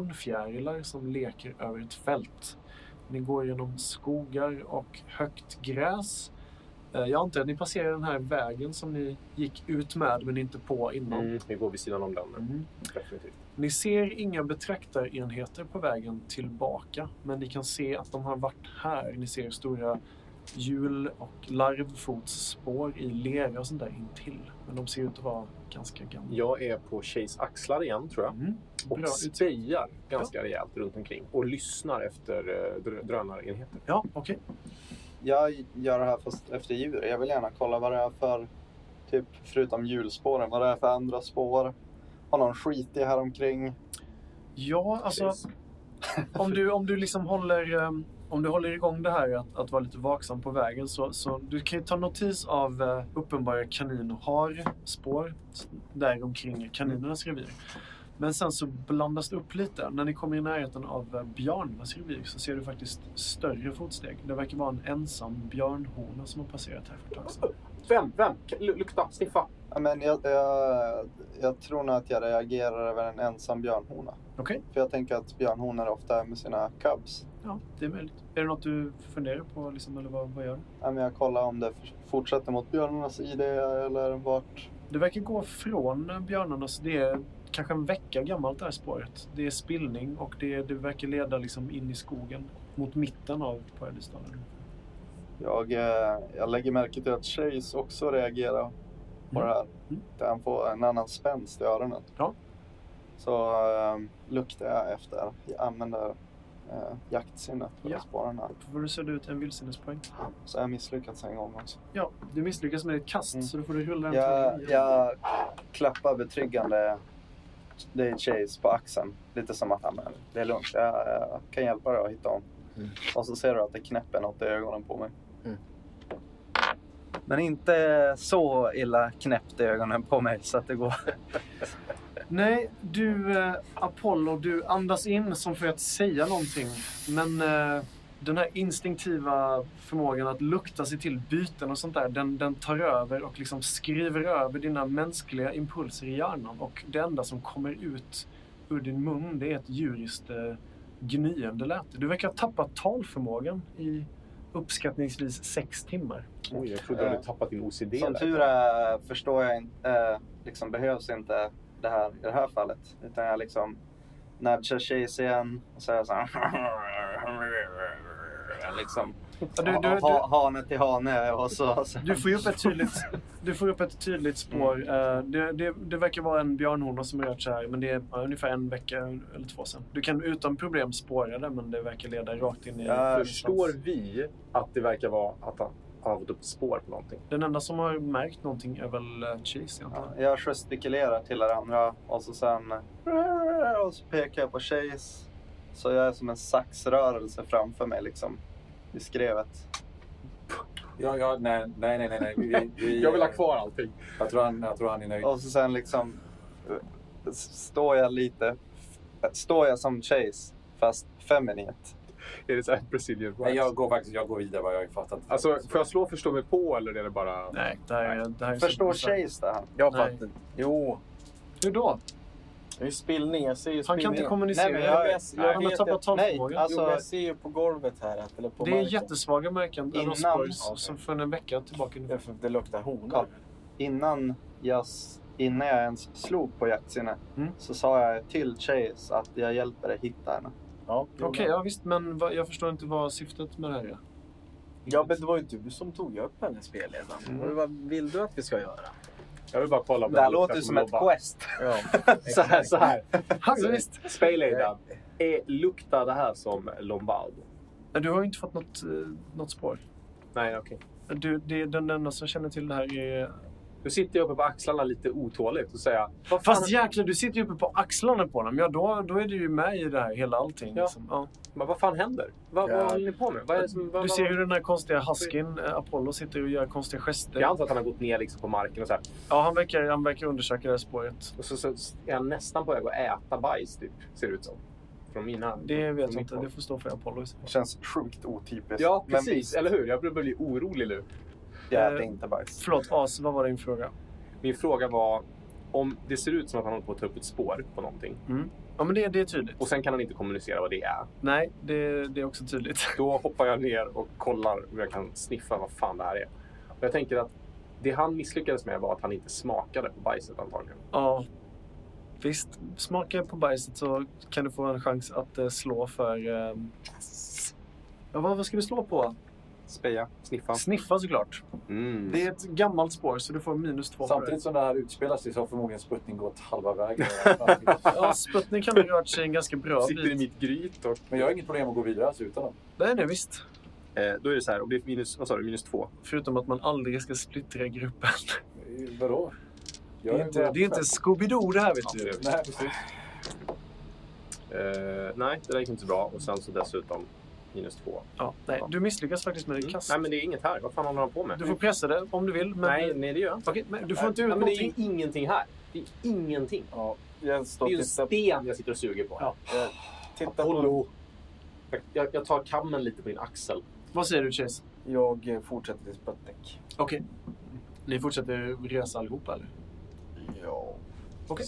Speaker 4: citronfjärilar som leker över ett fält. Ni går genom skogar och högt gräs. Eh, Jag antar att ni passerar den här vägen som ni gick ut med men inte på innan.
Speaker 6: Mm, Vi går vid sidan om den nu.
Speaker 4: Mm.
Speaker 6: Definitivt.
Speaker 4: Ni ser inga betraktarenheter på vägen tillbaka, men ni kan se att de har varit här. Ni ser stora hjul och larvfotsspår i lera och sånt där intill. Men de ser ut att vara ganska gamla.
Speaker 6: Jag är på Shays axlar igen, tror jag.
Speaker 4: Mm. Bra
Speaker 6: Och
Speaker 4: ut.
Speaker 6: spejar ganska rejält runt omkring. Och lyssnar efter eh, drö- drönarenheter.
Speaker 4: Ja, okej.
Speaker 8: Jag gör det här fast efter djur. Jag vill gärna kolla vad det är för, typ förutom hjulspåren, vad det är för andra spår. Har någon skitig här omkring?
Speaker 4: Ja, alltså om du, om du liksom håller, ehm, om du håller igång det här att, att vara lite vaksam på vägen så, så du kan ju ta notis av eh, uppenbara kanin och harspår s- där omkring kaninernas revir. Men sen så blandas det upp lite. När ni kommer i närheten av eh, björnarnas revir så ser du faktiskt större fotsteg. Det verkar vara en ensam björnhona som har passerat här för ett tag sedan.
Speaker 6: Vem? Vem? K- lu- Lukta, sniffa.
Speaker 8: Ja, men jag, jag, jag tror nog att jag reagerar över en ensam björnhona.
Speaker 4: Okej.
Speaker 8: För jag tänker att björnhonor ofta är med sina cubs.
Speaker 4: Ja, det är möjligt. Är det något du funderar på liksom, eller vad, vad gör du?
Speaker 8: Ja, men jag kollar om det fortsätter mot björnarnas ID eller vart.
Speaker 4: Det verkar gå från björnarna, så det är kanske en vecka gammalt det här spåret. Det är spillning och det, det verkar leda liksom in i skogen mot mitten av Paradisdalen.
Speaker 8: Jag, eh, jag lägger märke till att Chase också reagerar på
Speaker 4: Mm.
Speaker 8: det här.
Speaker 4: Mm.
Speaker 8: Där han får en annan spänst i öronen.
Speaker 4: Ja.
Speaker 8: Så eh, luktar jag efter. Jag använder eh, jaktsinnet för
Speaker 4: Ja.
Speaker 8: att spåra den här.
Speaker 4: Då får du sudda ut en vildsinnespoäng.
Speaker 8: Så jag har misslyckats en gång också.
Speaker 4: Ja, du misslyckas med ett kast
Speaker 8: Mm.
Speaker 4: så då får du rulla en
Speaker 8: Jag,
Speaker 4: tärning.
Speaker 8: jag klappar betryggande Dave Chase på axeln. Lite som att han det är lugnt, jag, jag kan hjälpa dig att hitta honom.
Speaker 1: Mm.
Speaker 8: Och så ser du att det knäpper något i ögonen på mig.
Speaker 1: Mm.
Speaker 8: Men inte så illa knäppt i ögonen på mig så att det går.
Speaker 4: Nej, du eh, Apollo, du andas in som för att säga någonting. Men eh, den här instinktiva förmågan att lukta sig till byten och sånt där, den, den tar över och liksom skriver över dina mänskliga impulser i hjärnan. Och det enda som kommer ut ur din mun, det är ett djuriskt eh, gnyende läte. Du verkar ha tappat talförmågan i uppskattningsvis sex timmar.
Speaker 6: Oj, jag trodde du hade tappat din OCD.
Speaker 8: Som
Speaker 6: där.
Speaker 8: tur är förstår jag inte, eh, liksom behövs inte det här i det här fallet. Utan jag liksom nudgar Chase igen och säger så här. liksom.
Speaker 4: Ja, du, du, du,
Speaker 8: ha, hane till hane och så. så.
Speaker 4: Du får ju upp ett tydligt, du får upp ett tydligt spår. Eh, det, det, det verkar vara en björnhona som har rört sig här, men det är ja, ungefär en vecka eller två sedan. Du kan utan problem spåra det, men det verkar leda rakt in i...
Speaker 8: Ja,
Speaker 6: Förstår vi att det verkar vara att han han har fått upp spår på någonting?
Speaker 4: Den enda som har märkt någonting är väl eh, Chase, antar jag.
Speaker 8: Ja, jag gestikulerar till varandra och så sen och så pekar jag på Chase. Så jag är som en saxrörelse framför mig liksom i skrevet.
Speaker 5: Ja, ja, nej, nej, nej. nej, nej. Vi, vi,
Speaker 6: Jag vill ha kvar allting.
Speaker 5: Jag tror han, jag tror han är nöjd.
Speaker 8: Och så sen liksom eh, står jag lite, eh, står jag som Chase fast feminint.
Speaker 6: Är det så här Brazilian
Speaker 5: Nej,
Speaker 6: rights?
Speaker 5: jag går faktiskt jag går vidare vad jag har fattat.
Speaker 6: Alltså, får jag slå och förstå mig på eller är det bara...
Speaker 4: Nej, det här, är- det här är...
Speaker 8: Förstår
Speaker 4: så-
Speaker 8: Chase det här?
Speaker 1: Jag
Speaker 4: Nej.
Speaker 1: fattar. Jo,
Speaker 4: Hur då?
Speaker 1: det är ju spillning. Jag ser ju
Speaker 4: Han kan
Speaker 1: spillning.
Speaker 4: inte kommunicera.
Speaker 1: Nej, men jag, jag, jag,
Speaker 4: Han har
Speaker 1: vet
Speaker 4: tappat
Speaker 1: att-
Speaker 8: Nej,
Speaker 4: talförmågan.
Speaker 1: jo, men
Speaker 8: alltså
Speaker 1: jag ser ju på golvet här. Att, eller på
Speaker 4: Det är
Speaker 1: marken.
Speaker 4: jättesvaga märken.
Speaker 8: Innan-
Speaker 4: Innan... Som för en vecka tillbaka.
Speaker 1: Det är för- Det luktar honor.
Speaker 8: Kolla. innan jag, s- innan jag ens slog på jaktsinne
Speaker 4: Mm.
Speaker 8: så sa jag till Chase att jag hjälper dig hitta henne.
Speaker 1: Ja,
Speaker 4: Okej, ja visst, men vad, jag förstår inte vad syftet med det här är.
Speaker 1: Ja, men det var ju du som tog upp henne spelledaren.
Speaker 8: Mm.
Speaker 1: Och Vad vill du att vi ska göra?
Speaker 5: Jag vill bara kolla. om
Speaker 8: Det här
Speaker 5: jag luktar
Speaker 8: låter ju som ett
Speaker 5: blåbär.
Speaker 8: quest.
Speaker 1: Ja,
Speaker 6: Så här, så här.
Speaker 7: Alltså, visst.
Speaker 6: Spejlejdan. Är- Eh, Luktar det här som Lombard?
Speaker 4: Nej, Du har ju inte fått något, eh, något spår.
Speaker 6: Nej, okej.
Speaker 4: Du, det, den enda som känner till det här är...
Speaker 6: Nu sitter jag uppe på axlarna lite otåligt och säger... Vad fan,
Speaker 4: Fast jäklar, du sitter ju uppe på axlarna på dem. Ja, då, då är du ju med i det här, hela allting.
Speaker 6: Ja.
Speaker 4: Liksom. Ja.
Speaker 6: men vad fan händer? Vad,
Speaker 1: Ja.
Speaker 6: vad håller ni på med? Vad är det som, vad,
Speaker 4: Du
Speaker 6: vad-
Speaker 4: ser hur den här konstiga huskin, eh, Apollo, sitter och gör konstiga gester.
Speaker 6: Jag antar att han har gått ner liksom på marken och så här.
Speaker 4: Ja, han verkar, han verkar undersöka det här spåret.
Speaker 6: Och så, så är han nästan på väg att äta bajs, typ. Ser det ut som. Från mina...
Speaker 4: Det vet
Speaker 6: från
Speaker 4: jag
Speaker 6: mitt
Speaker 4: inte.
Speaker 6: håll.
Speaker 4: Det får stå för Apollo. i så fall.
Speaker 8: Känns sjukt otypiskt.
Speaker 6: Ja,
Speaker 8: Men
Speaker 6: precis. Eh, Eller hur? Jag börjar bli orolig nu.
Speaker 8: jävla inte bajs.
Speaker 4: Förlåt, As, vad var din fråga?
Speaker 6: Min fråga var om det ser ut som att han håller på att ta upp ett spår på någonting
Speaker 4: Ja, men det, det är tydligt.
Speaker 6: och sen kan han inte kommunicera vad det är.
Speaker 4: Nej, det, det är också tydligt.
Speaker 6: Då hoppar jag ner och kollar om jag kan sniffa vad fan det här är. Och jag tänker att det han misslyckades med var att han inte smakade på bajset antagligen.
Speaker 4: Ja. Visst, smaka på bajset så kan du få en chans att eh, slå för... ehm, Ja, vad, vad ska du slå på?
Speaker 6: Speja, sniffa.
Speaker 4: Sniffa såklart.
Speaker 6: Mm.
Speaker 4: Det är ett gammalt spår så du får minus två för det.
Speaker 5: Samtidigt som det här utspelar sig så har förmodligen Sputnik gått halva vägen.
Speaker 4: Ja, Sputnik kan ha rört sig en ganska bra
Speaker 6: Sitter i
Speaker 4: bit.
Speaker 6: mitt gryt och...
Speaker 5: Men jag har inget problem att gå vidare alltså, utan dem.
Speaker 4: Nej, nej, visst.
Speaker 6: Eh, då är det så här, om det är minus, vad sa du, minus två?
Speaker 4: Förutom att man aldrig ska splittra gruppen.
Speaker 5: Eh, Vadå?
Speaker 4: Det
Speaker 5: Jag
Speaker 4: är inte, det är inte Scooby-Doo det här, vet du.
Speaker 5: Nej, precis.
Speaker 6: Eh, nej, det där gick inte så bra. Och sen så dessutom minus två.
Speaker 4: Ja, nej, du misslyckas faktiskt med ditt kast.
Speaker 6: Mm. Nej, men det är inget här. Vad fan håller han på med? Mm.
Speaker 4: Du får pressa det om du vill. Men
Speaker 6: Nej, nej, det gör jag inte.
Speaker 4: Okej, men du får inte ut
Speaker 6: nej, men det är
Speaker 4: någonting.
Speaker 6: ju ingenting här. Det är ingenting.
Speaker 1: ja. Jag
Speaker 6: Det är
Speaker 1: står
Speaker 6: ju
Speaker 1: och
Speaker 6: en
Speaker 1: tittar,
Speaker 6: sten jag sitter och suger på.
Speaker 4: Ja.
Speaker 1: tittar eh, på.
Speaker 6: Apollo. Jag, jag tar kammen lite på din axel.
Speaker 4: Vad säger du, Chase?
Speaker 1: Jag eh, fortsätter till Sputnik.
Speaker 4: Okej. Ni fortsätter resa allihopa, eller?
Speaker 1: Ja.
Speaker 4: Okej.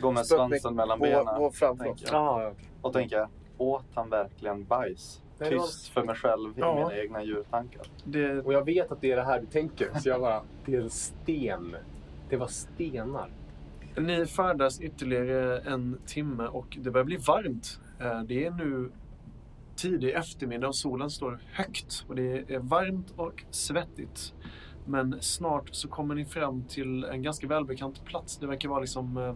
Speaker 8: Gå med svansen mellan benen.
Speaker 1: Gå framför.
Speaker 8: tänker jag.
Speaker 6: Ah, ja.
Speaker 8: Och tänka, åt han verkligen bajs?
Speaker 6: Nej, det var-
Speaker 8: Tyst för mig själv i
Speaker 4: Ja.
Speaker 8: mina egna djurtankar.
Speaker 4: Det,
Speaker 6: Och jag vet att det är det här du tänker. Så jag bara, det är en sten. Det var stenar.
Speaker 4: Ni färdas ytterligare en timme och det börjar bli varmt. Eh, Det är nu tidig eftermiddag och solen står högt och det är varmt och svettigt. Men snart så kommer ni fram till en ganska välbekant plats. Det verkar vara liksom, eh,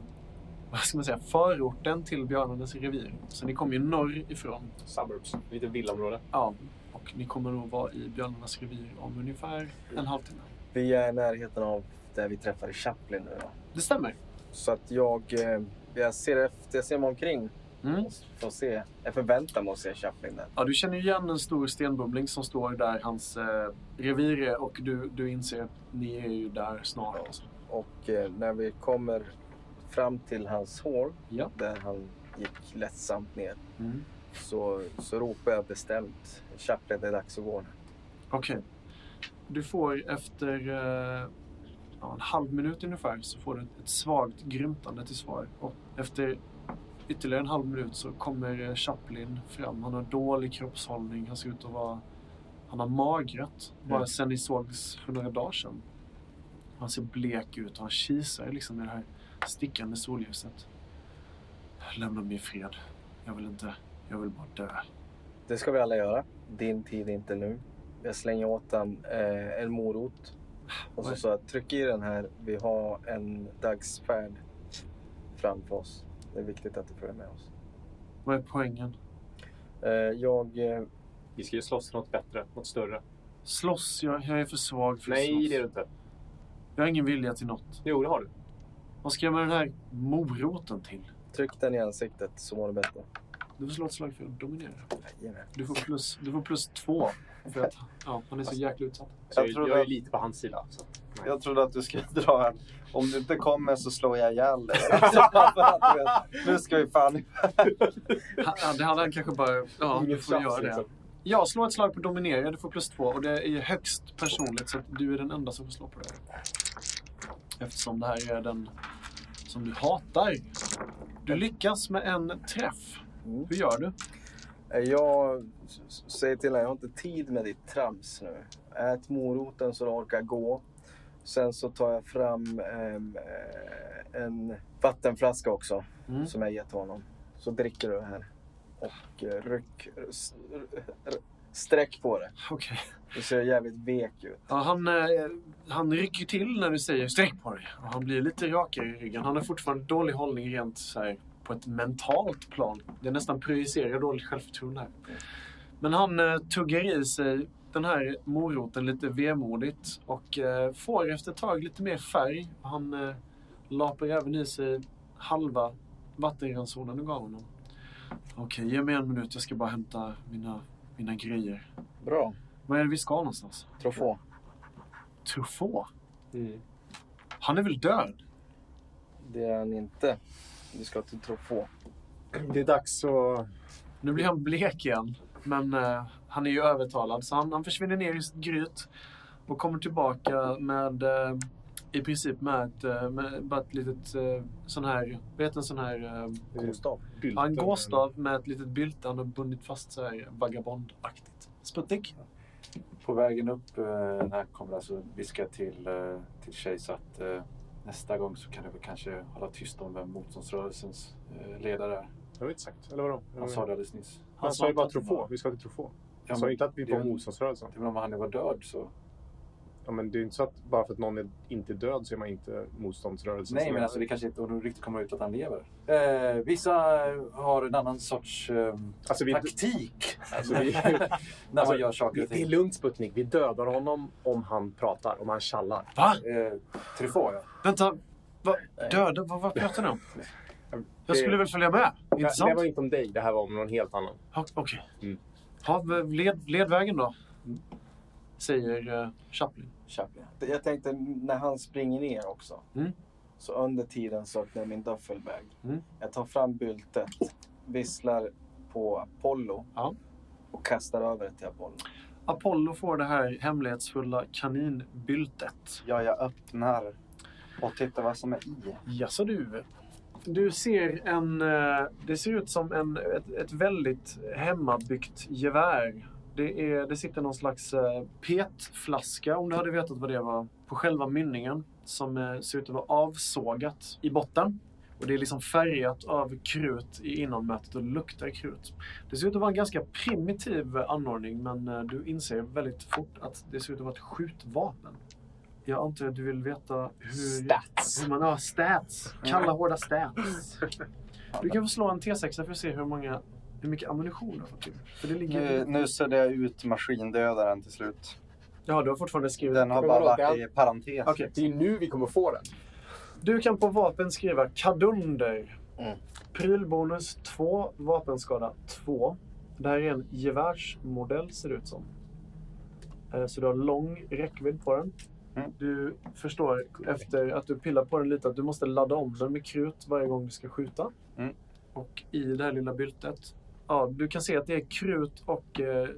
Speaker 4: vad ska man säga, förorten till björnarnas revir. Så ni kommer ju norr ifrån.
Speaker 6: Suburbs. Lite villaområde.
Speaker 4: Ja. Och ni kommer nog vara i björnarnas revir om ungefär en halvtimme.
Speaker 1: Vi är i närheten av där vi träffade Chaplin nu. Då.
Speaker 4: Det stämmer.
Speaker 1: Så att jag, eh, jag, ser efter, jag ser mig omkring.
Speaker 4: Mm.
Speaker 1: Får se. Jag förväntar mig att se Chaplin där.
Speaker 4: Ja, du känner ju igen en stor stenbubbling som står där hans eh, revir är och du, du inser att ni är ju där snart.
Speaker 1: Och eh, när vi kommer fram till hans hål,
Speaker 4: Ja.
Speaker 1: där han gick lättsamt ner,
Speaker 4: Mm.
Speaker 1: så, så ropar jag bestämt. Chaplin, det är dags att gå nu.
Speaker 4: Okej. Du får efter eh, ja, en halv minut ungefär så får du ett svagt grymtande till svar. Och efter ytterligare en halv minut så kommer eh, Chaplin fram. Han har dålig kroppshållning. Han ser ut att vara... Han har magrat bara
Speaker 1: Mm.
Speaker 4: sen ni sågs för några dagar sedan. Han ser blek ut och han kisar liksom i det här stickande solljuset. Lämna mig i fred. Jag vill inte... Jag vill bara dö.
Speaker 1: Det ska vi alla göra. Din tid är inte nu. Jag slänger åt han eh, en morot. Och så
Speaker 4: Oj.
Speaker 1: sa jag, tryck i den här. Vi har en dagsfärd framför oss. Det är viktigt att du följer med oss.
Speaker 4: Vad är poängen?
Speaker 1: Eh, jag... Eh,
Speaker 6: Vi ska ju slåss för något bättre. Något större.
Speaker 4: Slåss? Jag, jag är för svag för att
Speaker 6: Nej,
Speaker 4: slåss.
Speaker 6: det är det inte.
Speaker 4: Jag har ingen vilja till något.
Speaker 6: Jo, det har du.
Speaker 4: Vad ska jag med den här moroten till?
Speaker 1: tryck den i ansiktet så mår du bättre.
Speaker 4: Du får slå ett slag för att dominera.
Speaker 1: Jajamän.
Speaker 4: Du får plus, du får plus två. För att ja, han är så jäkla utsatt.
Speaker 6: Så
Speaker 8: Jag
Speaker 6: jag,
Speaker 8: tror
Speaker 6: jag,
Speaker 8: det-
Speaker 6: är lite på hans sida. Så. Nej.
Speaker 8: Jag trodde att du skulle dra en, om du inte kommer så slår jag ihjäl dig. nu ska vi fan...
Speaker 4: Han, ja, det hade han kanske bara... Ja, du
Speaker 6: Ingen
Speaker 4: får
Speaker 6: chans,
Speaker 4: göra det.
Speaker 6: liksom.
Speaker 4: Ja, slå ett slag på dominera. Du får plus två. Och det är högst personligt så att du är den enda som får slå på det. här. Eftersom det här är den som du hatar. Du lyckas med en träff.
Speaker 1: Mm.
Speaker 4: Hur gör du?
Speaker 1: Eh, Jag s- s- säger till honom, jag har inte tid med ditt trams nu. Ät moroten så du orkar gå. Sen så tar jag fram ehm, eh, en vattenflaska också.
Speaker 4: Mm.
Speaker 1: som jag gett honom. Så dricker du det här. Och eh, ryck, r- s- r- r- Sträck på det.
Speaker 4: Okej.
Speaker 1: Det ser jävligt vek ut.
Speaker 4: Ja, han, eh, han rycker till när du säger sträck på dig. Och han blir lite rakare i ryggen. Han har fortfarande dålig hållning rent så här, på ett mentalt plan. Det nästan projicerar dåligt självförtroende här. Men han eh, tuggar i sig den här moroten lite vemodigt och eh, får efter ett tag lite mer färg. Han eh, lapar även i sig halva vattenransonen du gav honom. Okej, ge mig en minut. Jag ska bara hämta mina, mina grejer.
Speaker 1: Bra.
Speaker 4: Vad är det vi ska någonstans?
Speaker 1: Trofå.
Speaker 4: Truffaut?
Speaker 6: Mm.
Speaker 4: Han är väl död?
Speaker 1: Det är han inte. Vi ska till Trofå.
Speaker 6: Det är dags att...
Speaker 4: Nu blir han blek igen. Men eh, han är ju övertalad, så han, han försvinner ner i sitt gryt och kommer tillbaka med eh, i princip med, ett, eh, med bara ett litet eh, sån här, vad heter en sån här, eh,
Speaker 6: Gåstav.
Speaker 4: ja, en gåstav med ett litet bylte han har bundit fast så här vagabondaktigt. Sputnik?
Speaker 5: På vägen upp eh, när han kommer alltså viska till, eh, till Chase att eh, nästa gång så kan du väl kanske hålla tyst om vem motståndsrörelsens eh, ledare är.
Speaker 6: Det har vi inte sagt. Eller vadå?
Speaker 5: Han sa det alldeles nyss.
Speaker 6: Han sa ju bara
Speaker 4: inte-
Speaker 6: Truffaut. Vi ska till Truffaut.
Speaker 5: Ja,
Speaker 6: Han sa ju
Speaker 5: men,
Speaker 6: inte att vi
Speaker 5: det är
Speaker 6: var
Speaker 5: väl-
Speaker 6: motståndsrörelsen.
Speaker 5: det är väl om han nu var död så.
Speaker 6: Ja, men det är ju inte så att bara för att någon är inte död så är man inte motståndsrörelsen.
Speaker 5: Nej, men alltså det kanske inte och nu riktigt kommer ut att han lever. Eh, vissa har en annan sorts eh,
Speaker 6: Alltså, vi-
Speaker 5: taktik
Speaker 6: Alltså, vi...
Speaker 5: när
Speaker 6: alltså,
Speaker 5: man gör saker
Speaker 6: det,
Speaker 5: och
Speaker 6: det är
Speaker 5: ting.
Speaker 6: lugnt Sputnik. Vi dödar honom om han pratar, om han tjallar.
Speaker 4: Va?
Speaker 5: Eh, Truffaut, ja.
Speaker 4: Vänta, va, döda? Vad, vad pratar ni om? Jag skulle väl följa med?
Speaker 6: Det, det var
Speaker 4: Intressant.
Speaker 6: inte om dig, det här var om någon helt annan.
Speaker 4: Ja, Okej.
Speaker 6: Mm.
Speaker 4: Ja, led, led vägen då, säger eh, Chaplin.
Speaker 1: Chaplin. Jag tänkte när han springer ner också.
Speaker 4: Mm.
Speaker 1: Så under tiden sökte jag min duffelbag.
Speaker 4: Mm.
Speaker 1: Jag tar fram byltet, visslar på Apollo
Speaker 4: Ja.
Speaker 1: och kastar över det till Apollo.
Speaker 4: Apollo får det här hemlighetsfulla kaninbyltet.
Speaker 8: Ja, jag öppnar och tittar vad som är i.
Speaker 4: Jaså du. Du ser en... eh, Det ser ut som en, ett, ett väldigt hemmabyggt gevär. Det, är, det sitter någon slags eh, petflaska, om du hade vetat vad det var, på själva mynningen som eh, ser ut att vara avsågat i botten. Och det är liksom färgat av krut i inommätet och luktar krut. Det ser ut att vara en ganska primitiv eh, anordning men eh, du inser väldigt fort att det ser ut att vara ett skjutvapen. Jag antar att du vill veta hur...
Speaker 6: Stats.
Speaker 4: Hur man har stats. Kalla hårda stats. Du kan få slå en T6 för att se hur, många, hur mycket ammunition du har fått till. För det ligger...
Speaker 8: Nu, nu suddar jag ut maskindödaren till slut.
Speaker 4: Ja, du har fortfarande skrivit...
Speaker 8: Den har
Speaker 6: Men
Speaker 8: bara
Speaker 6: vadå, det
Speaker 8: varit
Speaker 6: är-
Speaker 8: i parentes.
Speaker 4: Okej.
Speaker 6: Det är ju nu vi kommer få den.
Speaker 4: Du kan på vapen skriva kadunder.
Speaker 1: Mm.
Speaker 4: Prylbonus 2, vapenskada 2. Det här är en gevärsmodell ser det ut som. Eh, Så du har lång räckvidd på den.
Speaker 8: Mm.
Speaker 4: Du förstår efter att du pillar på den lite att du måste ladda om den med krut varje gång du ska skjuta.
Speaker 8: Mm.
Speaker 4: Och i det här lilla byltet. Ja, du kan se att det är krut och eh,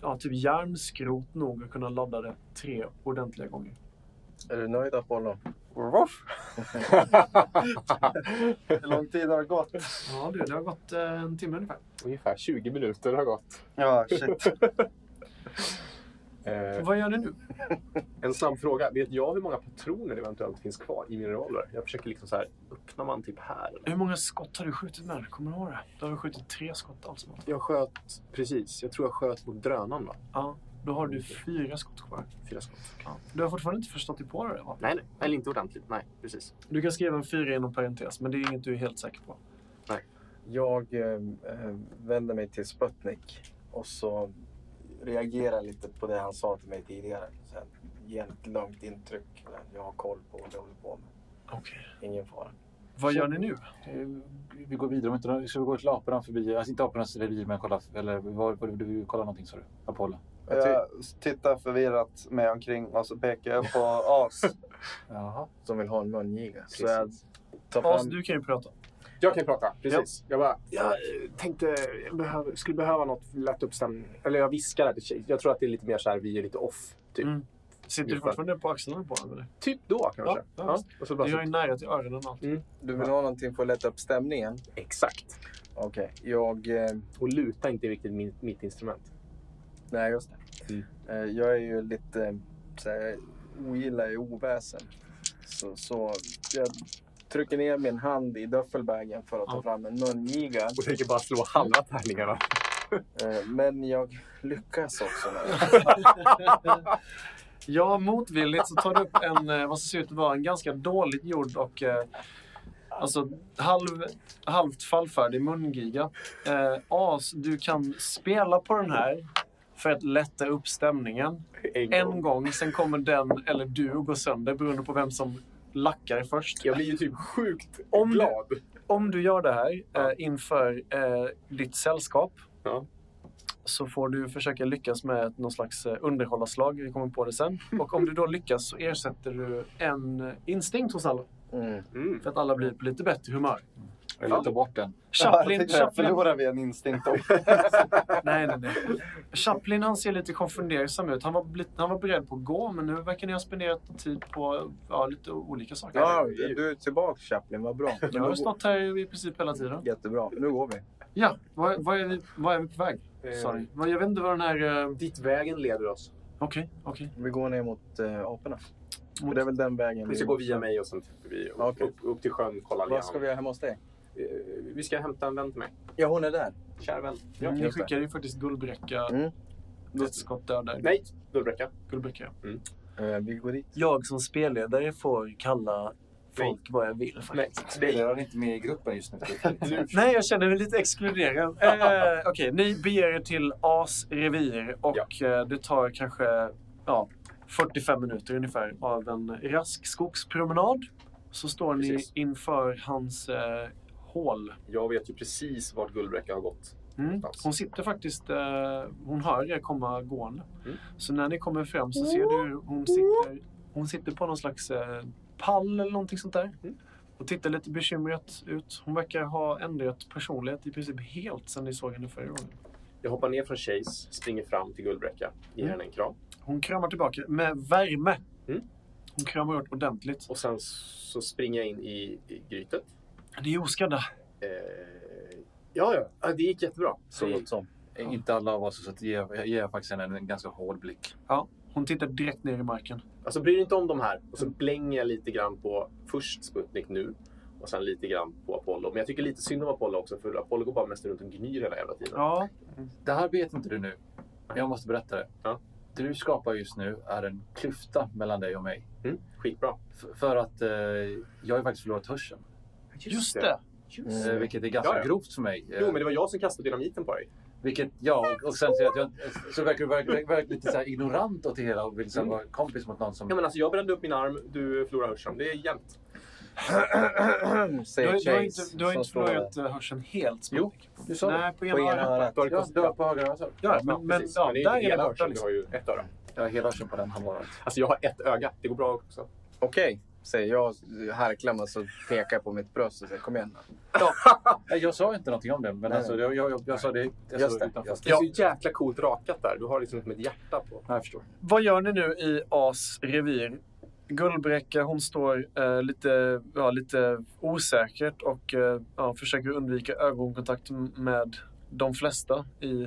Speaker 4: ja, typ järnskrot nog att kunna ladda det tre ordentliga gånger.
Speaker 1: Är du nöjd Apollo?
Speaker 8: Woof. Hur lång tid har det gått?
Speaker 4: Ja, du, det har gått eh, en timme ungefär.
Speaker 6: Ungefär 20 minuter har gått.
Speaker 8: Ja, shit.
Speaker 6: Eh,
Speaker 4: Vad gör ni nu?
Speaker 6: en snabb fråga. Vet jag hur många patroner det eventuellt finns kvar i min revolver? Jag försöker liksom så här, öppnar man typ här? eller?
Speaker 4: Hur många skott har du skjutit med? Kommer du ihåg det? Du har väl skjutit tre skott alltså. allt som allt.
Speaker 6: Jag sköt, precis, jag tror jag sköt mot drönaren va?
Speaker 4: Ja, då har du fyra skott kvar.
Speaker 6: Fyra skott.
Speaker 4: Ja. Du har fortfarande inte förstått dig på det va?
Speaker 6: Nej, nej, eller inte ordentligt. Nej, precis.
Speaker 4: Du kan skriva en fyra inom parentes, men det är inget du är helt säker på.
Speaker 1: Jag eh, eh, vänder mig till Sputnik och så reagerar lite på det han sa till mig tidigare. Så här, ger ett lugnt intryck. Jag har koll på vad jag håller på med.
Speaker 4: Okej.
Speaker 1: Ingen fara.
Speaker 4: Vad gör ni nu?
Speaker 5: Eh, Vi går vidare om inte de- ska vi gå till aporna förbi, alltså inte apornas revir men kolla, eller var, var, du kollar någonting sa du? Apollo?
Speaker 8: Jag tittar förvirrat mig omkring och så pekar jag på as.
Speaker 5: Jaha.
Speaker 1: Som vill ha en mungiga. Så jag tar
Speaker 4: As,
Speaker 1: fram...
Speaker 4: du kan ju prata.
Speaker 6: Jag kan prata, precis. Jag bara, jag eh, tänkte, jag behöv, skulle behöva något för att lätta upp stämningen. Eller jag viskar där till tjej. Jag tror att det är lite mer så här, vi är lite off. Typ,
Speaker 4: Mm. Sitter du
Speaker 6: Ungefär.
Speaker 4: fortfarande på axlarna på honom? eller?
Speaker 6: typ då kanske.
Speaker 4: Ja, ja, visst.
Speaker 6: Och så bara,
Speaker 4: Du har ju nära till öronen allt.
Speaker 1: Du vill ha någonting för att lätta upp stämningen?
Speaker 6: Exakt.
Speaker 1: Okej. Jag... Eh,
Speaker 6: Och luta inte riktigt min, mitt instrument.
Speaker 1: nej, just det.
Speaker 6: Mm.
Speaker 1: Eh, jag är ju lite... Så här, jag ogillar ju oväsen. Så, så jag trycker ner min hand i duffelbagen för att ta
Speaker 4: Ja.
Speaker 1: fram en mungiga.
Speaker 6: Och tänker bara slå halva tärningarna.
Speaker 1: Eh, Men jag lyckas också med det.
Speaker 4: Ja, motvilligt så tar du upp en, eh, vad som ser ut att vara en ganska dåligt gjord och eh, alltså, halv, halvt fallfärdig mungiga. Eh, As, du kan spela på den här för att lätta upp stämningen.
Speaker 6: En
Speaker 4: En gång, sen kommer den eller du att gå sönder beroende på vem som lackar först.
Speaker 6: Jag blir ju typ sjukt
Speaker 4: Om du,
Speaker 6: glad.
Speaker 4: om du gör det här eh, inför eh, ditt sällskap
Speaker 6: Ja.
Speaker 4: så får du försöka lyckas med ett- någon slags eh, underhållarslag. Vi kommer på det sen. Och om du då lyckas så ersätter du en eh, instinkt hos alla.
Speaker 1: Mm.
Speaker 6: Mm.
Speaker 4: För att alla blir på lite bättre humör.
Speaker 5: Eller ta bort den.
Speaker 8: jag
Speaker 4: Chaplin,
Speaker 8: tycker jag
Speaker 4: Chaplin.
Speaker 8: förlorar vi en instinkt om.
Speaker 4: Nej, nej, nej. Chaplin han ser lite konfundersam ut. Han var, bli- han var beredd på att gå men nu verkar ni ha spenderat tid på ja, lite olika saker.
Speaker 1: Ja, du är tillbaka Chaplin, vad bra. Men
Speaker 4: Jag har
Speaker 1: då
Speaker 4: ju
Speaker 1: går...
Speaker 4: stått här i princip hela tiden.
Speaker 1: Jättebra, nu går vi.
Speaker 4: Ja, vad, vad, är, vi, vad är vi på väg?
Speaker 6: Eh,
Speaker 4: Sorry. Vad- Jag vet inte vad den här... eh,
Speaker 6: Dit vägen leder oss.
Speaker 4: Okej, okej.
Speaker 1: Vi går ner mot äh, aporna.
Speaker 4: Mot-
Speaker 1: Det är väl den vägen.
Speaker 6: Vi ska gå via mig och sen vi upp,
Speaker 1: Okej.
Speaker 6: upp, upp till sjön kolla Eh,
Speaker 1: Vad ska vi göra hemma hos dig?
Speaker 6: vi... vi ska hämta en vän till mig.
Speaker 1: Ja, hon är där.
Speaker 6: Kär vän.
Speaker 4: Ja, ni
Speaker 1: Mm, just det.
Speaker 4: skickade ju faktiskt guldbräcka.
Speaker 1: Mm.
Speaker 4: Ett skott dödar.
Speaker 6: Nej, Guldbräcka.
Speaker 4: Guldbräcka. ja.
Speaker 1: Eh, vi går dit.
Speaker 7: Jag som spelledare får kalla folk vad jag vill.
Speaker 6: Nej, det
Speaker 5: Spelar inte med i gruppen just nu.
Speaker 4: Nej, jag känner mig lite exkluderad. Eh, Okej, ni beger er till As revir och eh, det tar kanske ja, 45 minuter ungefär av en rask skogspromenad. Så står ni
Speaker 6: Precis.
Speaker 4: inför hans eh, hål.
Speaker 6: Jag vet ju precis vart Guldbräcka har gått.
Speaker 4: Mm.
Speaker 6: Någonstans.
Speaker 4: Hon sitter faktiskt, eh, hon hör er komma gående.
Speaker 6: Mm.
Speaker 4: Så när ni kommer fram så ser du hur hon sitter, hon sitter på någon slags eh, pall eller någonting sånt där.
Speaker 6: Mm.
Speaker 4: Och tittar lite bekymrat ut. Hon verkar ha ändrat personlighet i princip helt sedan ni såg henne förra gången.
Speaker 6: Jag hoppar ner från Chase, springer fram till Guldbräcka, ger
Speaker 4: Mm.
Speaker 6: henne en kram.
Speaker 4: Hon kramar tillbaka med värme.
Speaker 6: Mm.
Speaker 4: Hon kramar åt ordentligt.
Speaker 6: Och sen så springer jag in i, i grytet.
Speaker 4: Ni är oskadda.
Speaker 6: Eh, ja, ja, ja, det gick jättebra.
Speaker 5: Så
Speaker 6: Det-
Speaker 5: gott som. Inte alla av oss, så att ge, jag ger faktiskt henne en ganska hård blick.
Speaker 4: Hon tittar direkt ner i marken.
Speaker 6: Alltså bry dig inte om de här. Och så blänger jag lite grann på först Sputnik nu och sen lite grann på Apollo. Men jag tycker lite synd om Apollo också för Apollo går bara mest runt och gnyr hela jävla tiden.
Speaker 4: Ja,
Speaker 5: Det här vet inte du nu. Jag måste berätta det.
Speaker 6: Ja.
Speaker 5: Det du skapar just nu är en klyfta mellan dig och mig.
Speaker 6: Mm, skitbra.
Speaker 5: F- för att eh, jag har ju faktiskt förlorat hörseln.
Speaker 4: just det.
Speaker 5: Eh, vilket är ganska
Speaker 6: Ja, ja.
Speaker 5: grovt för mig. Eh,
Speaker 6: Jo, men det var jag som kastade dynamiten på dig.
Speaker 5: Vilket, ja, och, och sen så, att jag, så verkar du verkar, verkar lite så här ignorant åt det hela och vill så här
Speaker 6: Mm.
Speaker 5: vara kompis mot någon som...
Speaker 6: Ja, men alltså jag brände upp min arm, du förlorade hörseln. Det är jämnt.
Speaker 4: Du
Speaker 1: Säger
Speaker 4: har, du har inte,
Speaker 1: Chase
Speaker 4: du har
Speaker 1: som
Speaker 4: inte
Speaker 1: står där.
Speaker 4: förlorat eh, hörseln helt.
Speaker 5: Jo,
Speaker 4: Sputnik.
Speaker 5: du sa det.
Speaker 4: Nej, på
Speaker 1: På
Speaker 4: ena
Speaker 1: ena
Speaker 4: örat.
Speaker 1: örat.
Speaker 5: Du har, du har på höger öra.
Speaker 4: Ja, men, men,
Speaker 6: precis.
Speaker 4: ja,
Speaker 6: det är
Speaker 4: där
Speaker 6: ju
Speaker 4: är
Speaker 6: hela
Speaker 4: det borta.
Speaker 6: hörseln. Du
Speaker 4: Liksom.
Speaker 6: har ju ett öra.
Speaker 5: Jag har hela hörseln på den halva
Speaker 6: Alltså jag har ett öga. Det går bra också.
Speaker 1: Okej, säger jag. Harklar mig så pekar jag på mitt bröst och säger kom igen.
Speaker 5: Nej, Jag sa inte någonting om det, men
Speaker 1: Nej.
Speaker 5: alltså, jag, jag, jag, jag sa det, jag
Speaker 1: Just
Speaker 5: sa
Speaker 1: det,
Speaker 5: utanför.
Speaker 1: just
Speaker 6: Det är så jäkla coolt rakat där. Du har liksom som ett hjärta på.
Speaker 5: Ja, jag förstår.
Speaker 4: Vad gör ni nu i As revir? Guldbräcka, hon står eh, lite, ja, lite osäkert och eh, ja, försöker undvika ögonkontakt m- med de flesta i,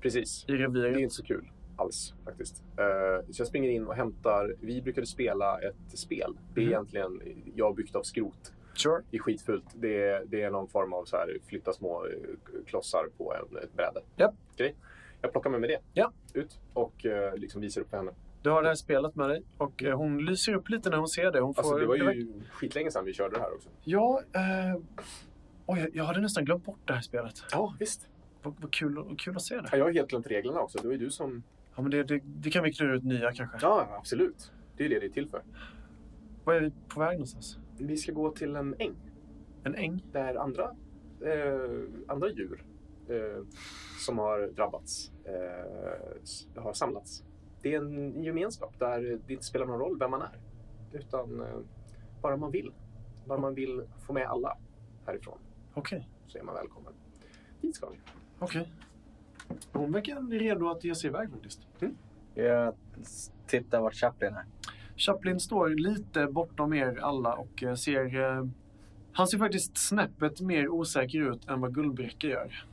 Speaker 6: Precis.
Speaker 4: i
Speaker 6: Det är
Speaker 4: reviret.
Speaker 6: inte så kul alls faktiskt. Eh, Så jag springer in och hämtar. Vi brukade spela ett spel. Det är
Speaker 4: Mhm.
Speaker 6: egentligen jag har byggt av skrot.
Speaker 4: Sure.
Speaker 6: Det är skitfult. Det är, det är någon form av så här, flytta små eh, klossar på en, ett bräde.
Speaker 4: Japp.
Speaker 6: Okej. Jag plockar med mig det
Speaker 4: Ja.
Speaker 6: ut och eh, liksom visar upp för henne.
Speaker 4: Du har det här spelet med dig och eh, hon lyser upp lite när hon ser det. Hon får,
Speaker 6: Alltså, det var
Speaker 4: verkar-
Speaker 6: ju skitlänge sedan vi körde det här också.
Speaker 4: Ja, eh, oj, jag- jag hade nästan glömt bort det här spelet.
Speaker 6: Ja, visst.
Speaker 4: Vad, vad kul, kul att se det.
Speaker 6: Ja, jag har helt glömt reglerna också. Det var ju du som...
Speaker 4: Ja, men det, det, det kan vi klura ut nya kanske.
Speaker 6: Ja, absolut. Det är det det är till för.
Speaker 4: Vad är vi på väg någonstans?
Speaker 6: Vi ska gå till en äng.
Speaker 4: En äng?
Speaker 6: där andra, eh, andra djur eh, som har drabbats eh, s- har samlats. Det är en gemenskap där det inte spelar någon roll vem man är, utan eh, bara man vill. Bara man vill få med alla härifrån
Speaker 4: Okej.
Speaker 6: så är man välkommen. Dit ska vi.
Speaker 4: Okej. Hon verkar redo att ge sig iväg faktiskt.
Speaker 1: Mm. Jag tittar vart Chaplin är.
Speaker 4: Chaplin står lite bortom er alla och eh, ser... eh, Han ser faktiskt snäppet mer osäker ut än vad Guldbräcke gör.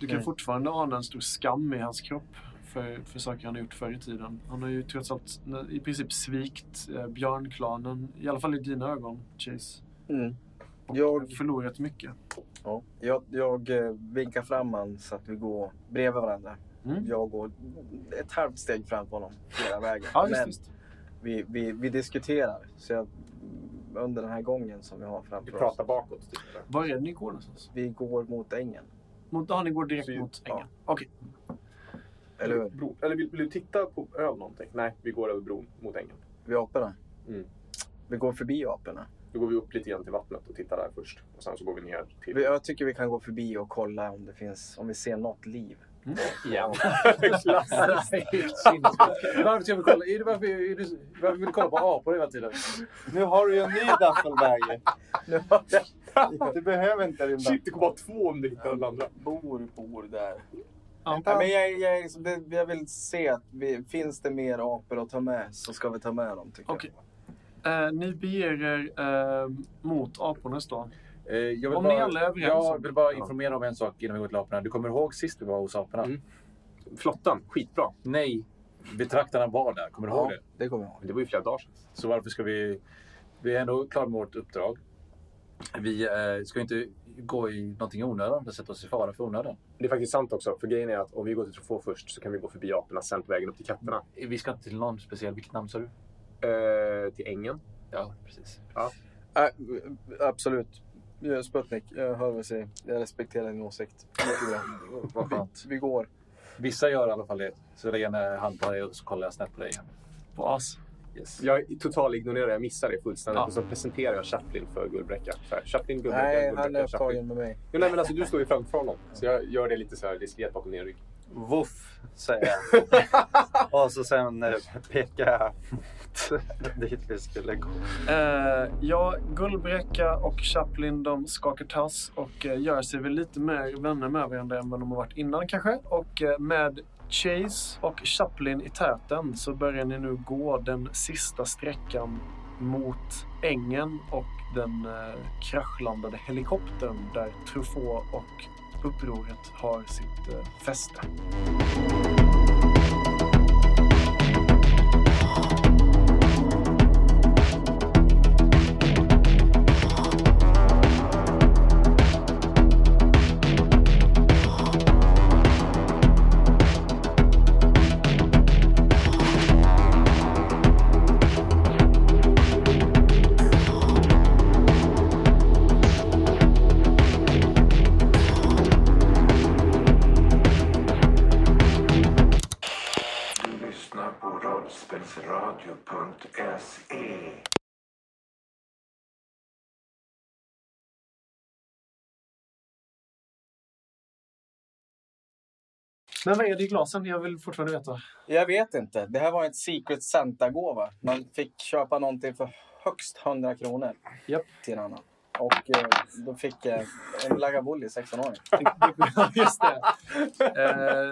Speaker 4: Du kan
Speaker 1: Mm.
Speaker 4: fortfarande ana en stor skam i hans kropp för, för saker han har gjort förr i tiden. Han har ju trots allt nä- i princip svikt eh, björnklanen, i alla fall i dina ögon, Chase.
Speaker 1: Jag,
Speaker 4: Förlorat mycket.
Speaker 1: ja, jag, jag eh, vinkar fram han så att vi går bredvid varandra.
Speaker 4: Mm.
Speaker 1: Jag går ett halvt steg framför honom hela vägen.
Speaker 4: Ja, visst,
Speaker 1: Men
Speaker 4: visst.
Speaker 1: vi, vi, vi diskuterar. Så jag, under den här gången som vi har
Speaker 6: Vi
Speaker 1: framför oss.
Speaker 6: pratar bakåt. Typ. eller?
Speaker 4: Var är det ni går någonstans?
Speaker 1: Vi går mot ängen.
Speaker 4: Mot, ja, ni går direkt
Speaker 6: Syd.
Speaker 4: mot
Speaker 1: Ja.
Speaker 4: ängen. Okej.
Speaker 1: Eller hur?
Speaker 6: Bro, eller vill, vill du titta på över någonting? Nej, vi går över bron mot ängen.
Speaker 1: Vid aporna.
Speaker 6: Mm.
Speaker 1: Vi går förbi aporna.
Speaker 6: Då går vi upp lite grann till vattnet och tittar där först. Och sen så går vi ner
Speaker 1: Vi-
Speaker 6: till...
Speaker 1: Jag tycker vi kan gå förbi och kolla om det finns, om vi ser något liv.
Speaker 6: Igen.
Speaker 5: Varför ska vi kolla? Är det varför, är det, varför vill du kolla på apor hela tiden?
Speaker 8: Nu har du ju en ny duffelbag.
Speaker 1: Nu har jag-
Speaker 8: Du behöver inte din
Speaker 6: Shit, det går bara två om du hittar den andra.
Speaker 1: bor, bor där.
Speaker 4: Ja.
Speaker 1: Nej, men jag, jag, är liksom- det- jag vill se att vi, finns det mer apor att ta med så ska vi ta med dem tycker
Speaker 4: Okej. Eh, ni beger er eh, mot apornas då.
Speaker 5: Eh, jag vill
Speaker 4: Om
Speaker 5: bara,
Speaker 4: ni alla är överens
Speaker 5: Jag
Speaker 4: om-
Speaker 5: vill bara informera om en sak innan vi går till aporna. Du kommer ihåg sist vi var hos aporna?
Speaker 6: Mm. Flottan, skitbra.
Speaker 5: Nej, betraktarna var där. Kommer du
Speaker 1: jag.
Speaker 5: ihåg
Speaker 1: Ja,
Speaker 5: det?
Speaker 1: det kommer jag ihåg.
Speaker 6: Men det var ju flera dagar sedan.
Speaker 5: Så varför ska vi... Vi är ändå klara med vårt uppdrag. Vi eh, ska inte gå i någonting i onödan eller sätta oss i fara för onödan.
Speaker 6: Det är faktiskt sant också, för grejen är att om vi går till Truffaut först så kan vi gå förbi aporna sen på vägen upp till katterna.
Speaker 5: Vi ska inte till någon speciell... Vilket namn sa du?
Speaker 6: Eh, till ängen.
Speaker 5: Ja, precis.
Speaker 1: Äh, absolut. Ja, Sputnik, jag hör vad du säger. Jag respekterar din åsikt. Mycket bra.
Speaker 5: Vad skönt.
Speaker 1: Vi går.
Speaker 5: Vissa gör i alla fall det. Så lägger jag en hand på dig och så kollar jag snett på dig igen.
Speaker 4: På as.
Speaker 5: Yes.
Speaker 6: Jag total ignorerar, jag missar det fullständigt.
Speaker 4: Ja.
Speaker 6: Och så presenterar jag Chaplin för Gullbräcka. Så här, Chaplin, Gullbräcka,
Speaker 1: Nej,
Speaker 6: Gullbräcka,
Speaker 1: han är
Speaker 6: Chaplin.
Speaker 1: upptagen med mig.
Speaker 6: Jo, nej, men alltså, du står ju framför honom. Så jag gör det lite så här diskret bakom din rygg.
Speaker 8: Woof, säger jag. Och så sen eh, pekar jag dit vi skulle gå.
Speaker 4: Eh, ja, Gullbräcka och Chaplin de skakar tass och eh, gör sig väl lite mer vänner med varandra än vad de har varit innan kanske. Och eh, med Chase och Chaplin i täten så börjar ni nu gå den sista sträckan mot ängen och den eh, kraschlandade helikoptern där Truffaut och upproret har sitt eh, fäste.
Speaker 2: Du lyssnar på rollspelsradio.se
Speaker 4: Men vad är det i glasen? Jag vill fortfarande veta.
Speaker 1: Jag vet inte. Det här var ett Secret Santa-gåva. Man fick köpa någonting för högst 100 kronor
Speaker 4: Japp.
Speaker 1: till en annan. Och eh, då fick jag en Lagavulin 16 år.
Speaker 4: Ja, Just det.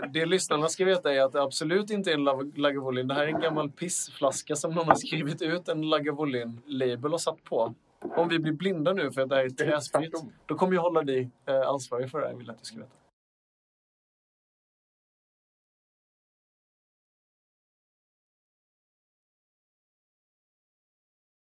Speaker 4: Eh, det lyssnarna ska veta är att det absolut inte är en Lav- Lagavulin. Det här är en gammal pissflaska som någon har skrivit ut en Lagavulin-label och satt på. Om vi blir blinda nu för att det här är träsprit, då kommer jag hålla dig eh, ansvarig för det här. Jag vill att du ska veta.